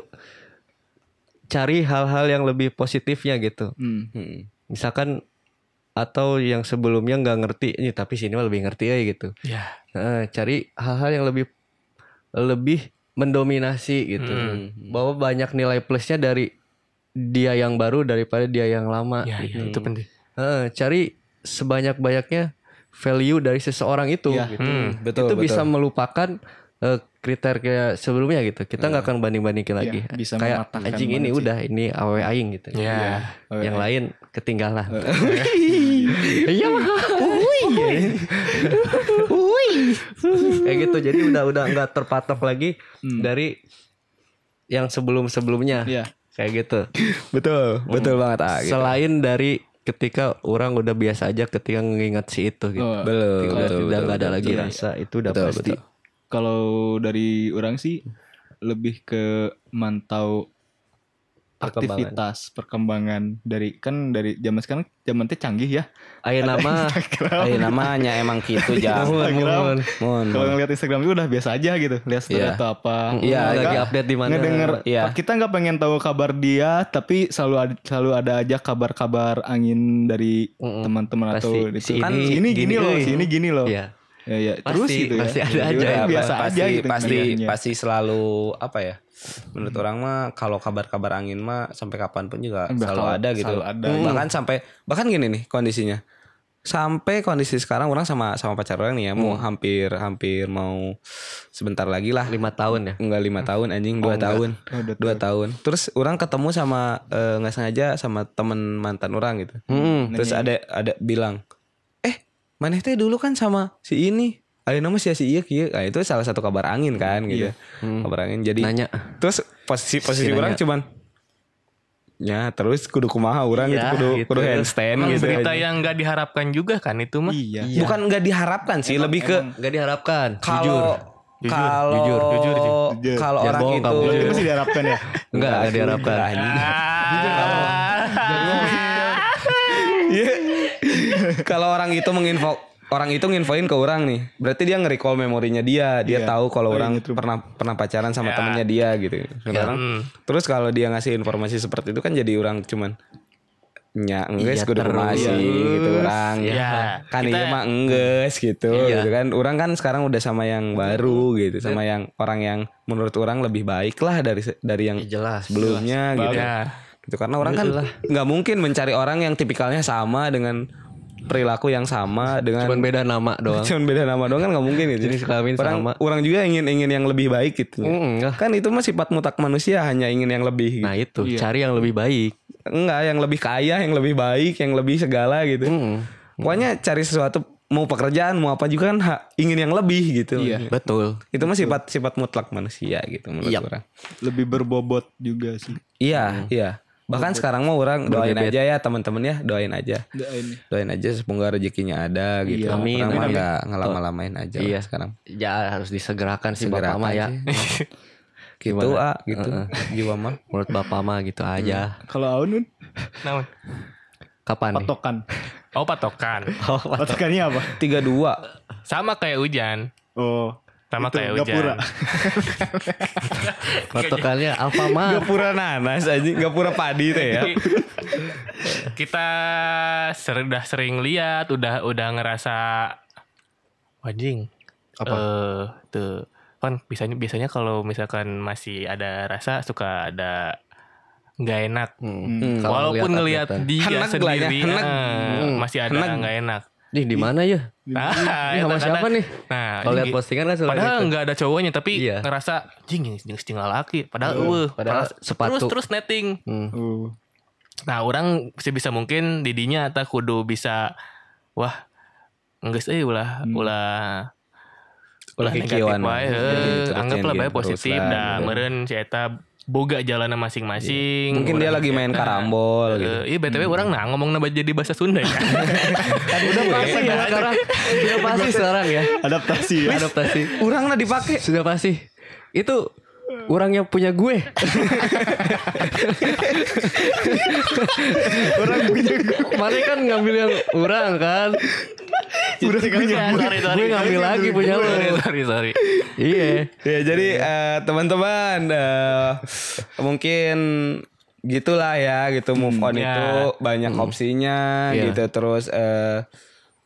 [SPEAKER 1] cari hal-hal yang lebih positifnya gitu.
[SPEAKER 3] Hmm.
[SPEAKER 1] Misalkan atau yang sebelumnya nggak ngerti ini tapi sini mah lebih ngerti eh gitu.
[SPEAKER 4] ya
[SPEAKER 1] Nah, cari hal-hal yang lebih lebih mendominasi gitu.
[SPEAKER 2] Hmm.
[SPEAKER 1] Bahwa banyak nilai plusnya dari dia yang baru daripada dia yang lama.
[SPEAKER 4] ya,
[SPEAKER 2] Hmm.
[SPEAKER 4] ya, itu penting.
[SPEAKER 1] Heeh, cari sebanyak-banyaknya value dari seseorang itu
[SPEAKER 3] Iya. Ya.
[SPEAKER 1] gitu.
[SPEAKER 4] Hmm,
[SPEAKER 2] betul,
[SPEAKER 1] itu bisa melupakan eh, kriteria sebelumnya gitu. Kita nggak akan banding-bandingin lagi.
[SPEAKER 3] Iya, bisa
[SPEAKER 1] Kayak
[SPEAKER 3] mematangkan
[SPEAKER 1] anjing ini
[SPEAKER 3] banget sih.
[SPEAKER 1] udah ini awe aing gitu.
[SPEAKER 4] Ya.
[SPEAKER 2] Iya.
[SPEAKER 1] Yang lain ketinggalan. Iya. Kayak gitu. Jadi udah udah nggak terpatok lagi dari yang sebelum-sebelumnya.
[SPEAKER 3] Iya.
[SPEAKER 1] Kayak gitu.
[SPEAKER 2] betul betul banget ah gitu.
[SPEAKER 1] Selain dari ketika orang udah biasa aja ketika ngingat si itu gitu.
[SPEAKER 3] Oh.
[SPEAKER 2] Betul,
[SPEAKER 1] Ketika
[SPEAKER 2] betul,
[SPEAKER 1] tidak
[SPEAKER 2] betul,
[SPEAKER 1] nggak ada
[SPEAKER 2] betul,
[SPEAKER 1] lagi ya.
[SPEAKER 2] betul.
[SPEAKER 1] rasa itu udah
[SPEAKER 2] Betul,
[SPEAKER 1] pasti.
[SPEAKER 2] betul.
[SPEAKER 3] Kalau dari orang sih lebih ke mantau aktivitas perkembangan dari kan dari zaman sekarang zaman teh canggih ya.
[SPEAKER 1] Ayo nama.
[SPEAKER 3] Instagram.
[SPEAKER 2] Ayo namanya emang gitu jam
[SPEAKER 1] Mohon, mohon.
[SPEAKER 2] Mun.
[SPEAKER 3] Kalau ngeliat Instagram itu udah biasa aja gitu, lihat story
[SPEAKER 2] Iya.
[SPEAKER 3] atau apa.
[SPEAKER 1] Iya,
[SPEAKER 3] Nggak-
[SPEAKER 1] lagi update di mana.
[SPEAKER 3] Ngedenger,
[SPEAKER 2] Iya.
[SPEAKER 3] kita nggak pengen tahu kabar dia, tapi selalu ada, selalu ada aja kabar-kabar angin dari teman-teman atau
[SPEAKER 1] Pasti. Si
[SPEAKER 3] Kan
[SPEAKER 1] ini-
[SPEAKER 3] si ini gini,
[SPEAKER 1] gini
[SPEAKER 3] loh,
[SPEAKER 1] euy.
[SPEAKER 3] si ini gini loh.
[SPEAKER 1] Iya.
[SPEAKER 3] Ya, ya.
[SPEAKER 1] Pasti,
[SPEAKER 3] Terus gitu ya.
[SPEAKER 1] pasti ada
[SPEAKER 3] Jadi
[SPEAKER 1] aja
[SPEAKER 3] udah
[SPEAKER 1] ya,
[SPEAKER 3] biasa
[SPEAKER 2] Iya, pasti,
[SPEAKER 3] aja gitu.
[SPEAKER 2] pasti
[SPEAKER 3] ngeliatnya.
[SPEAKER 2] pasti selalu apa ya menurut orang mah kalau kabar-kabar angin mah sampai kapanpun juga
[SPEAKER 3] Bakal
[SPEAKER 2] selalu ada gitu
[SPEAKER 3] selalu ada,
[SPEAKER 2] Hmm. bahkan sampai bahkan gini nih kondisinya sampai kondisi sekarang orang sama sama pacar orang nih ya mau hampir hampir mau sebentar lagi lah
[SPEAKER 1] Hmm. Lima tahun ya. Oh,
[SPEAKER 2] enggak lima tahun anjing dua tahun
[SPEAKER 3] dua
[SPEAKER 2] Oh, dua tahun terus orang ketemu sama eh, nggak sengaja sama temen mantan orang gitu
[SPEAKER 1] Hmm.
[SPEAKER 2] terus ada ada bilang eh maneh teh dulu kan sama si ini ayo nama si si iya kieu nah, itu salah satu kabar angin kan gitu kabar angin jadi
[SPEAKER 1] Iya. Hmm. Nanya. Iya,
[SPEAKER 2] terus posisi posisi orang cuman ya terus kudu kumaha orang
[SPEAKER 1] Iya,
[SPEAKER 2] gitu kudu
[SPEAKER 1] gitu.
[SPEAKER 2] kudu handstand
[SPEAKER 4] Emang
[SPEAKER 2] gitu
[SPEAKER 4] berita
[SPEAKER 2] anjing.
[SPEAKER 4] yang nggak diharapkan juga kan itu mah.
[SPEAKER 3] Iya.
[SPEAKER 1] ya.
[SPEAKER 2] bukan nggak diharapkan sih lebih ke
[SPEAKER 1] Nggak diharapkan. jujur.
[SPEAKER 2] kalau kalau
[SPEAKER 1] jujur, jujur,
[SPEAKER 3] jujur.
[SPEAKER 2] kalau
[SPEAKER 1] Jangan
[SPEAKER 2] orang
[SPEAKER 1] bohong
[SPEAKER 2] itu
[SPEAKER 1] kamu,
[SPEAKER 3] Kalau itu masih diharapkan ya.
[SPEAKER 1] Enggak, enggak diharapkan.
[SPEAKER 2] Iya. kalau orang itu menginfo orang itu nginfoin ke orang nih, berarti dia nge-recall memorinya dia, dia
[SPEAKER 3] Iya.
[SPEAKER 2] tahu kalau
[SPEAKER 3] Oh,
[SPEAKER 2] orang
[SPEAKER 3] iya, true.
[SPEAKER 2] pernah pernah pacaran
[SPEAKER 1] Iya.
[SPEAKER 2] sama temennya dia gitu. Sekarang,
[SPEAKER 1] hmm.
[SPEAKER 2] Terus kalau dia ngasih informasi seperti itu kan jadi orang cuman nya enggeus
[SPEAKER 1] Iya,
[SPEAKER 2] kudu kumaha
[SPEAKER 1] terus.
[SPEAKER 2] sih," gitu orang.
[SPEAKER 4] Iya.
[SPEAKER 2] Kan
[SPEAKER 4] Kita-
[SPEAKER 2] iya mah enggeus gitu,
[SPEAKER 1] Iya.
[SPEAKER 2] gitu kan. Orang kan sekarang udah sama yang baru gitu, sama yang orang yang menurut orang lebih baik lah dari se- dari yang
[SPEAKER 1] Ya, jelas.
[SPEAKER 2] sebelumnya gitu
[SPEAKER 4] Ya.
[SPEAKER 2] gitu karena orang kan nggak mungkin mencari orang yang tipikalnya sama dengan perilaku yang sama dengan
[SPEAKER 1] Cuman beda nama doang.
[SPEAKER 2] cuman beda nama doang kan nggak mungkin gitu
[SPEAKER 1] Jenis kelamin
[SPEAKER 2] orang
[SPEAKER 1] sama.
[SPEAKER 2] orang juga ingin ingin yang lebih baik gitu ya.
[SPEAKER 1] Mm, enggak.
[SPEAKER 2] kan itu mah sifat mutak manusia hanya ingin yang lebih gitu.
[SPEAKER 1] Nah itu
[SPEAKER 3] Iya.
[SPEAKER 1] cari yang lebih baik.
[SPEAKER 2] enggak yang lebih kaya yang lebih baik yang lebih segala gitu
[SPEAKER 1] Mm.
[SPEAKER 2] pokoknya cari sesuatu mau pekerjaan mau apa juga kan ha- ingin yang lebih gitu
[SPEAKER 3] Iya.
[SPEAKER 1] Iya. Betul.
[SPEAKER 2] itu mah sifat sifat mutlak manusia gitu menurut orang
[SPEAKER 3] Lebih berbobot juga sih.
[SPEAKER 1] Hmm.
[SPEAKER 2] Iya, iya. Bahkan sekarang mah orang doain aja ya teman-teman ya, doain aja.
[SPEAKER 3] Doain.
[SPEAKER 2] Doain aja semoga rezekinya ada gitu.
[SPEAKER 1] Iya, amin,
[SPEAKER 2] Orang mah
[SPEAKER 1] amin.
[SPEAKER 2] nggak ngelama-lamain aja lah
[SPEAKER 1] Iya.
[SPEAKER 2] sekarang.
[SPEAKER 1] Ya harus disegerakan sih
[SPEAKER 2] Segera
[SPEAKER 1] bapak mah ya.
[SPEAKER 2] aja. gitu ah, gitu. Jiwa mah.
[SPEAKER 1] Menurut bapak mah gitu aja.
[SPEAKER 3] Kalau Aun Nun,
[SPEAKER 4] Namun.
[SPEAKER 2] Hmm.
[SPEAKER 1] Kapan nih?
[SPEAKER 3] patokan.
[SPEAKER 4] Oh patokan.
[SPEAKER 1] Oh,
[SPEAKER 3] Patokannya apa?
[SPEAKER 2] 32.
[SPEAKER 4] Sama kayak hujan.
[SPEAKER 3] Oh,
[SPEAKER 4] Sama
[SPEAKER 3] Itu,
[SPEAKER 4] kayak hujan.
[SPEAKER 3] gapura.
[SPEAKER 1] patokannya Alfamart
[SPEAKER 2] Gapura nanas aja, gapura padi teh ya.
[SPEAKER 4] Kita ser- udah sering lihat, udah udah ngerasa wajing.
[SPEAKER 1] Apa?
[SPEAKER 4] Eh, tuh kan biasanya biasanya kalau misalkan masih ada rasa suka ada nggak enak.
[SPEAKER 1] Hmm, kalau
[SPEAKER 4] Walaupun
[SPEAKER 1] ngeliat
[SPEAKER 4] ngelihat
[SPEAKER 1] update-an.
[SPEAKER 4] dia
[SPEAKER 2] Heneg lah ya,
[SPEAKER 4] sendiri
[SPEAKER 2] heneg.
[SPEAKER 4] eh,
[SPEAKER 2] Hmm,
[SPEAKER 4] masih ada
[SPEAKER 2] heneg.
[SPEAKER 4] nggak enak.
[SPEAKER 1] Ih, di mana ya?
[SPEAKER 4] Nah,
[SPEAKER 1] Ini sama
[SPEAKER 4] kadang-kadang-
[SPEAKER 1] siapa nih?
[SPEAKER 4] Nah,
[SPEAKER 1] Kalau lihat
[SPEAKER 4] ini-
[SPEAKER 1] postingan kan selalu
[SPEAKER 4] Padahal
[SPEAKER 1] gitu.
[SPEAKER 4] nggak ada cowoknya tapi
[SPEAKER 1] Iya.
[SPEAKER 4] ngerasa jing jing jing jing laki. Padahal
[SPEAKER 1] Iya.
[SPEAKER 4] eueuh,
[SPEAKER 1] Padahal sepatu.
[SPEAKER 4] Terus terus netting.
[SPEAKER 1] Hmm.
[SPEAKER 3] Uh,
[SPEAKER 4] Nah, orang sebisa mungkin didinya atau kudu bisa wah enggak sih ulah
[SPEAKER 1] Hmm.
[SPEAKER 4] ulah
[SPEAKER 2] Ulah kikiwan.
[SPEAKER 4] wae,
[SPEAKER 2] Jadi
[SPEAKER 4] heuh.
[SPEAKER 2] terus
[SPEAKER 4] anggaplah
[SPEAKER 2] nyanyiin
[SPEAKER 4] bae positif
[SPEAKER 2] terus lah,
[SPEAKER 4] dah
[SPEAKER 2] gitu.
[SPEAKER 4] meureun si eta boga jalanan
[SPEAKER 1] Iya.
[SPEAKER 4] masing-masing.
[SPEAKER 2] Mungkin dia
[SPEAKER 4] Urang
[SPEAKER 2] lagi
[SPEAKER 4] si
[SPEAKER 2] main
[SPEAKER 1] Nah.
[SPEAKER 4] eta.
[SPEAKER 1] Oh,
[SPEAKER 2] karambol gitu.
[SPEAKER 4] Eh, iya BTW orang nah ngomong jadi bahasa Sunda ya.
[SPEAKER 1] Udah pasti ya sekarang. Sudah pasti sekarang ya.
[SPEAKER 3] adaptasi ya.
[SPEAKER 1] Adaptasi.
[SPEAKER 2] Urang lah dipakai.
[SPEAKER 1] Sudah pasti. Itu orang yang punya gue. orang punya gue. Mana kan ngambil yang orang kan.
[SPEAKER 3] Udah punya
[SPEAKER 4] sorry, sorry. Iya,
[SPEAKER 1] Gue ngambil lagi punya lo.
[SPEAKER 4] sorry, sorry, sorry.
[SPEAKER 1] Iya.
[SPEAKER 2] Ya jadi eh, teman-teman eh, mungkin gitulah ya gitu move on
[SPEAKER 4] ya.
[SPEAKER 2] itu banyak opsinya
[SPEAKER 1] Iya.
[SPEAKER 2] gitu terus eh,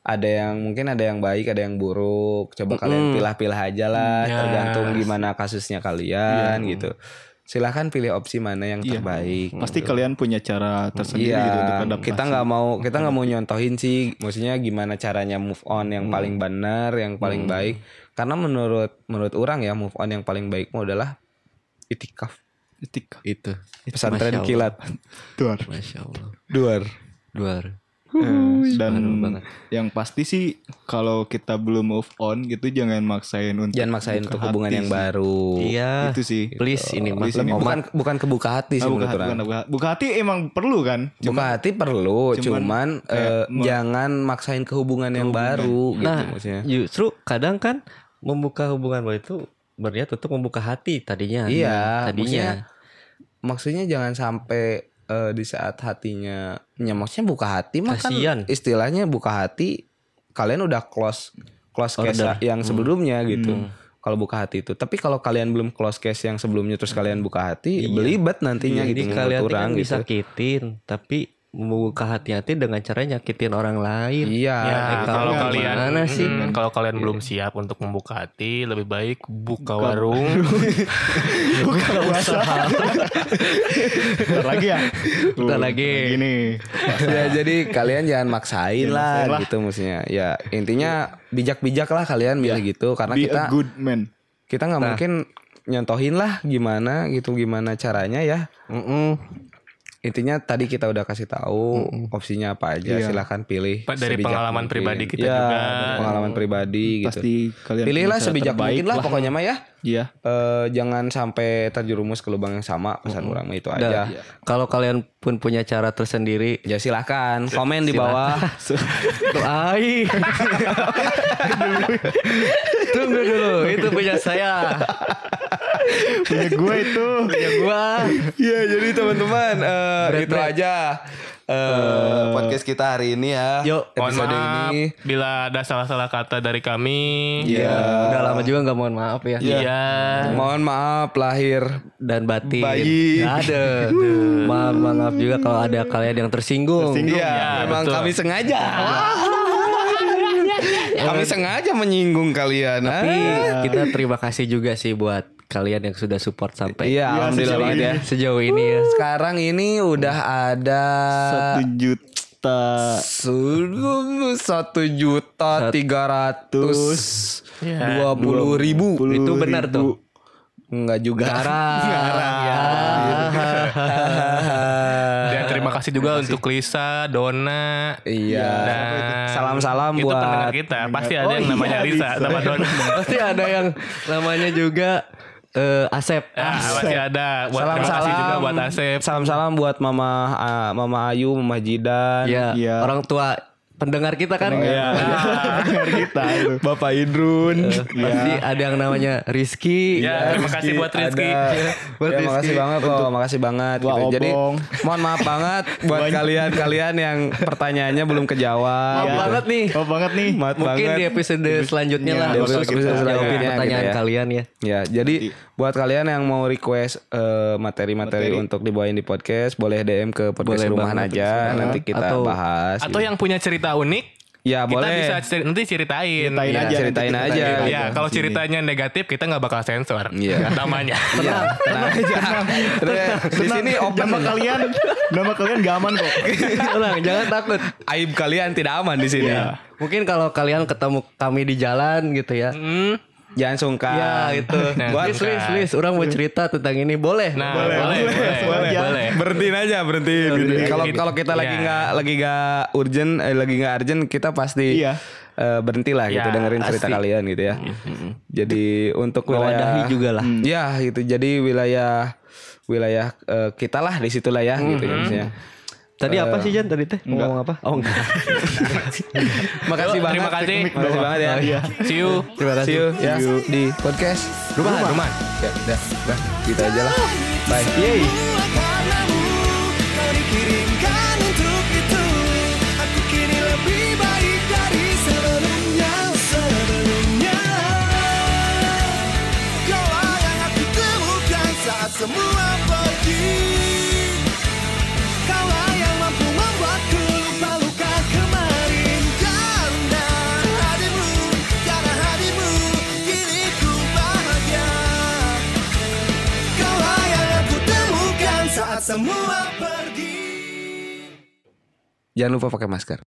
[SPEAKER 2] ada yang mungkin ada yang baik ada yang buruk coba kalian pilah-pilah aja lah
[SPEAKER 4] Ya.
[SPEAKER 2] tergantung gimana kasusnya kalian gitu silahkan pilih opsi mana yang terbaik gitu.
[SPEAKER 3] Pasti kalian punya cara tersendiri gitu untuk
[SPEAKER 2] Iya,
[SPEAKER 3] adaptasi.
[SPEAKER 2] kita nggak mau kita nggak mau nyontohin sih, maksudnya gimana caranya move on yang
[SPEAKER 3] Hmm.
[SPEAKER 2] paling benar, yang paling baik. Karena menurut menurut orang ya move on yang paling baik mau adalah itikaf
[SPEAKER 3] Etika.
[SPEAKER 1] Itu. Masya
[SPEAKER 2] pesantren
[SPEAKER 1] Allah.
[SPEAKER 2] kilat
[SPEAKER 3] Duar.
[SPEAKER 1] Masya Allah.
[SPEAKER 2] duar.
[SPEAKER 1] Luar.
[SPEAKER 3] Eh, dan
[SPEAKER 1] Baru banget.
[SPEAKER 3] yang pasti sih kalau kita belum move on gitu jangan maksain untuk
[SPEAKER 2] Jangan maksain
[SPEAKER 3] buka
[SPEAKER 2] untuk hubungan
[SPEAKER 3] hati
[SPEAKER 2] yang
[SPEAKER 3] sih.
[SPEAKER 2] baru.
[SPEAKER 1] Iya.
[SPEAKER 3] Itu sih.
[SPEAKER 1] Please ini mah.
[SPEAKER 3] Please ini
[SPEAKER 1] Omat.
[SPEAKER 2] Bukan bukan kebuka hati sih
[SPEAKER 3] Nah, buka,
[SPEAKER 2] menurut
[SPEAKER 3] hati,
[SPEAKER 2] orang.
[SPEAKER 3] bukan buka, buka hati emang perlu kan?
[SPEAKER 2] Buka hati perlu,
[SPEAKER 3] cuman
[SPEAKER 2] cuman,
[SPEAKER 3] kayak
[SPEAKER 2] eh, jangan maksain ke hubungan yang baru gitu
[SPEAKER 1] Nah,
[SPEAKER 2] maksudnya.
[SPEAKER 1] justru kadang kan membuka hubungan baru itu berniat untuk membuka hati tadinya.
[SPEAKER 2] Iya, maksudnya
[SPEAKER 1] tadinya.
[SPEAKER 2] maksudnya jangan sampai eh, di saat hatinya ya maksudnya buka hati mah kan
[SPEAKER 1] Kasian.
[SPEAKER 2] istilahnya buka hati kalian udah close close case
[SPEAKER 1] Order.
[SPEAKER 2] yang sebelumnya gitu. Kalau buka hati itu, tapi kalau kalian belum close case yang sebelumnya terus kalian buka hati, belibet nantinya
[SPEAKER 1] Jadi
[SPEAKER 2] gitu menurut
[SPEAKER 1] kalian
[SPEAKER 2] orang
[SPEAKER 1] kan
[SPEAKER 2] gitu.
[SPEAKER 1] disakitin, tapi membuka hati-hati dengan cara nyakitin orang lain.
[SPEAKER 2] Iya,
[SPEAKER 4] Ya,
[SPEAKER 1] Nah,
[SPEAKER 4] kalau
[SPEAKER 1] itu
[SPEAKER 4] kalian
[SPEAKER 1] gimana sih?
[SPEAKER 4] Mm, kalau kalian belum siap untuk membuka hati, lebih baik buka warung.
[SPEAKER 3] buka usaha. Bentar lagi ya.
[SPEAKER 1] Bentar lagi.
[SPEAKER 3] Gini.
[SPEAKER 2] ya jadi kalian jangan maksain
[SPEAKER 3] Jangan
[SPEAKER 2] lah
[SPEAKER 3] maksain lah.
[SPEAKER 2] gitu maksudnya. Ya intinya bijak-bijak lah kalian milih gitu karena
[SPEAKER 3] Be
[SPEAKER 2] kita
[SPEAKER 3] a good man.
[SPEAKER 2] kita nggak
[SPEAKER 3] Nah.
[SPEAKER 2] mungkin nyontohin lah gimana gitu gimana caranya ya
[SPEAKER 1] Mm-mm.
[SPEAKER 2] intinya tadi kita udah kasih tahu opsinya apa aja
[SPEAKER 3] Iya.
[SPEAKER 2] silahkan pilih
[SPEAKER 4] Pak, dari
[SPEAKER 2] sebijak
[SPEAKER 4] pengalaman pribadi kita
[SPEAKER 2] Iya,
[SPEAKER 4] juga.
[SPEAKER 2] dari pengalaman pribadi gitu
[SPEAKER 3] Pasti kalian
[SPEAKER 2] pilihlah
[SPEAKER 3] punya cara
[SPEAKER 2] sebijak
[SPEAKER 3] terbaik
[SPEAKER 2] mungkin lah pokoknya mah ya
[SPEAKER 3] Iya.
[SPEAKER 2] Eh, jangan sampai terjerumus ke lubang yang sama pesan orang mah itu aja
[SPEAKER 1] Dan
[SPEAKER 3] iya.
[SPEAKER 1] kalau kalian pun punya cara tersendiri,
[SPEAKER 2] ya silahkan komen di bawah
[SPEAKER 1] tuh ai. Tunggu dulu, itu punya saya,
[SPEAKER 3] Punya gue itu.
[SPEAKER 1] punya gua.
[SPEAKER 2] Iya jadi teman-teman eh,
[SPEAKER 1] Berat,
[SPEAKER 2] gitu
[SPEAKER 1] berat.
[SPEAKER 2] aja eh, podcast kita hari ini ya
[SPEAKER 1] Yuk,
[SPEAKER 4] Mohon
[SPEAKER 2] episode
[SPEAKER 4] maaf
[SPEAKER 2] ini
[SPEAKER 4] bila ada salah-salah kata dari kami.
[SPEAKER 3] Ya.
[SPEAKER 2] Iya.
[SPEAKER 1] Udah lama juga nggak mohon maaf ya.
[SPEAKER 4] Iya.
[SPEAKER 2] Mohon maaf lahir
[SPEAKER 1] Dan batin.
[SPEAKER 2] Bayi.
[SPEAKER 1] Nggak ada. Mohon maaf juga kalau ada kalian yang tersinggung.
[SPEAKER 3] Tersinggung.
[SPEAKER 2] Iya,
[SPEAKER 4] Ya,
[SPEAKER 2] memang
[SPEAKER 4] betul.
[SPEAKER 2] kami sengaja. kami sengaja menyinggung kalian.
[SPEAKER 1] Tapi
[SPEAKER 2] ah.
[SPEAKER 1] kita terima kasih juga sih buat kalian yang sudah support sampai
[SPEAKER 2] Iya, alhamdulillah
[SPEAKER 3] sejauh
[SPEAKER 2] banget ya.
[SPEAKER 1] sejauh ini ya.
[SPEAKER 2] Sekarang ini udah ada
[SPEAKER 3] Satu juta.
[SPEAKER 2] su- satu juta tiga ratus dua puluh ribu.
[SPEAKER 1] Itu benar tuh.
[SPEAKER 2] Enggak juga. Iya.
[SPEAKER 4] Dan Ya, terima kasih juga untuk Lisa, Dona.
[SPEAKER 2] Iya.
[SPEAKER 1] Nah,
[SPEAKER 4] Dan
[SPEAKER 2] Salam-salam
[SPEAKER 4] itu
[SPEAKER 2] buat-
[SPEAKER 4] pendengar kita. Pasti ada yang namanya Lisa sama Dona.
[SPEAKER 1] Pasti
[SPEAKER 2] Iya,
[SPEAKER 1] ada yang namanya juga eh, Asep.
[SPEAKER 4] Ya, pasti ada. Buat
[SPEAKER 2] Salam
[SPEAKER 4] terima kasih juga
[SPEAKER 2] salam
[SPEAKER 4] buat Asep.
[SPEAKER 2] Salam salam buat eh, Mama ah, Mama Ayu, Mama Jidan.
[SPEAKER 1] Ya,
[SPEAKER 3] Iya.
[SPEAKER 1] orang tua pendengar kita kan
[SPEAKER 3] Iya. Dengar kita itu.
[SPEAKER 2] Bapak Idrun.
[SPEAKER 1] pasti ada yang namanya Rizky
[SPEAKER 4] Ya, terima kasih buat Rizky.
[SPEAKER 2] Iya.
[SPEAKER 4] Iya.
[SPEAKER 2] Ada.
[SPEAKER 1] Buat
[SPEAKER 2] Ya,
[SPEAKER 1] Rizky.
[SPEAKER 2] makasih banget loh, makasih banget.
[SPEAKER 3] Wah,
[SPEAKER 2] gitu. Jadi
[SPEAKER 3] obong.
[SPEAKER 2] mohon maaf banget buat kalian-kalian yang pertanyaannya belum kejawab.
[SPEAKER 1] Maaf
[SPEAKER 2] gitu.
[SPEAKER 1] banget nih.
[SPEAKER 3] Oh banget nih.
[SPEAKER 2] Maaf
[SPEAKER 1] Mungkin
[SPEAKER 2] banget.
[SPEAKER 1] di episode selanjutnya
[SPEAKER 2] Iya,
[SPEAKER 1] lah
[SPEAKER 2] di
[SPEAKER 1] khusus
[SPEAKER 2] episode
[SPEAKER 1] kita
[SPEAKER 2] selanjutnya
[SPEAKER 1] jawabin
[SPEAKER 2] gitu
[SPEAKER 1] pertanyaan
[SPEAKER 2] ya.
[SPEAKER 1] kalian ya.
[SPEAKER 2] Ya, jadi buat kalian yang mau request eh, materi-materi untuk dibawain di podcast, boleh DM ke podcast
[SPEAKER 1] Boleh
[SPEAKER 2] rumahan
[SPEAKER 1] banget,
[SPEAKER 2] aja.
[SPEAKER 1] podcast
[SPEAKER 2] Nanti kita
[SPEAKER 1] Atau-
[SPEAKER 2] bahas.
[SPEAKER 4] Atau
[SPEAKER 2] gitu.
[SPEAKER 4] yang punya cerita unik,
[SPEAKER 2] ya
[SPEAKER 4] kita
[SPEAKER 2] boleh.
[SPEAKER 4] bisa ceri- nanti ceritain.
[SPEAKER 2] Iya,
[SPEAKER 3] Ceritain aja. nanti
[SPEAKER 2] ceritain
[SPEAKER 3] kita
[SPEAKER 2] aja.
[SPEAKER 3] ceritain.
[SPEAKER 4] Ya, kalau ceritanya negatif kita nggak bakal sensor
[SPEAKER 2] Iya.
[SPEAKER 4] namanya.
[SPEAKER 2] Iya, tenang aja. Di sini open
[SPEAKER 3] Nama kalian, nama kalian gak aman kok.
[SPEAKER 1] Ulang, jangan takut.
[SPEAKER 2] aib kalian tidak aman di sini.
[SPEAKER 1] Mungkin kalau kalian ketemu kami di jalan gitu ya.
[SPEAKER 4] Hmm.
[SPEAKER 2] Jangan sungkan.
[SPEAKER 1] Ya gitu.
[SPEAKER 4] Nah,
[SPEAKER 2] buat
[SPEAKER 1] Lis, Lis, Lis, orang mau cerita tentang ini boleh.
[SPEAKER 4] Nah,
[SPEAKER 3] Boleh,
[SPEAKER 4] boleh, boleh,
[SPEAKER 3] boleh, boleh.
[SPEAKER 4] boleh. boleh.
[SPEAKER 2] berhentiin aja berhentiin gitu. kalau kalau kita lagi
[SPEAKER 4] Iya.
[SPEAKER 2] nggak lagi nggak urgent eh, lagi nggak urgent kita pasti
[SPEAKER 3] Iya.
[SPEAKER 2] eh, berhenti lah gitu
[SPEAKER 4] Ya,
[SPEAKER 2] dengerin cerita kalian gitu ya jadi untuk
[SPEAKER 1] Mewadahi
[SPEAKER 2] wilayah
[SPEAKER 1] juga lah.
[SPEAKER 2] Hmm. ya gitu jadi wilayah wilayah eh, kita lah di situ lah ya gitu ya maksudnya
[SPEAKER 1] Tadi apa sih Jan tadi teh? Mau Ngomong apa? Oh enggak.
[SPEAKER 2] makasih
[SPEAKER 4] Yuk,
[SPEAKER 2] banget
[SPEAKER 4] terima kasih.
[SPEAKER 2] makasih banget ya
[SPEAKER 4] See you.
[SPEAKER 2] terima kasih See you, ya di podcast
[SPEAKER 4] Rumah, rumah.
[SPEAKER 2] ya udah udah gitu aja lah bye
[SPEAKER 5] Semua karenamu kau dikirimkan untuk itu Aku kini lebih baik dari sebelumnya Sebelumnya Kaulah yang aku temukan saat semua pergi Kaulah yang mampu membuatku lupa luka kemarin Karena hatimu, karena hatimu Kini ku bahagia Kaulah yang aku temukan saat semua pergi
[SPEAKER 2] jangan lupa pakai masker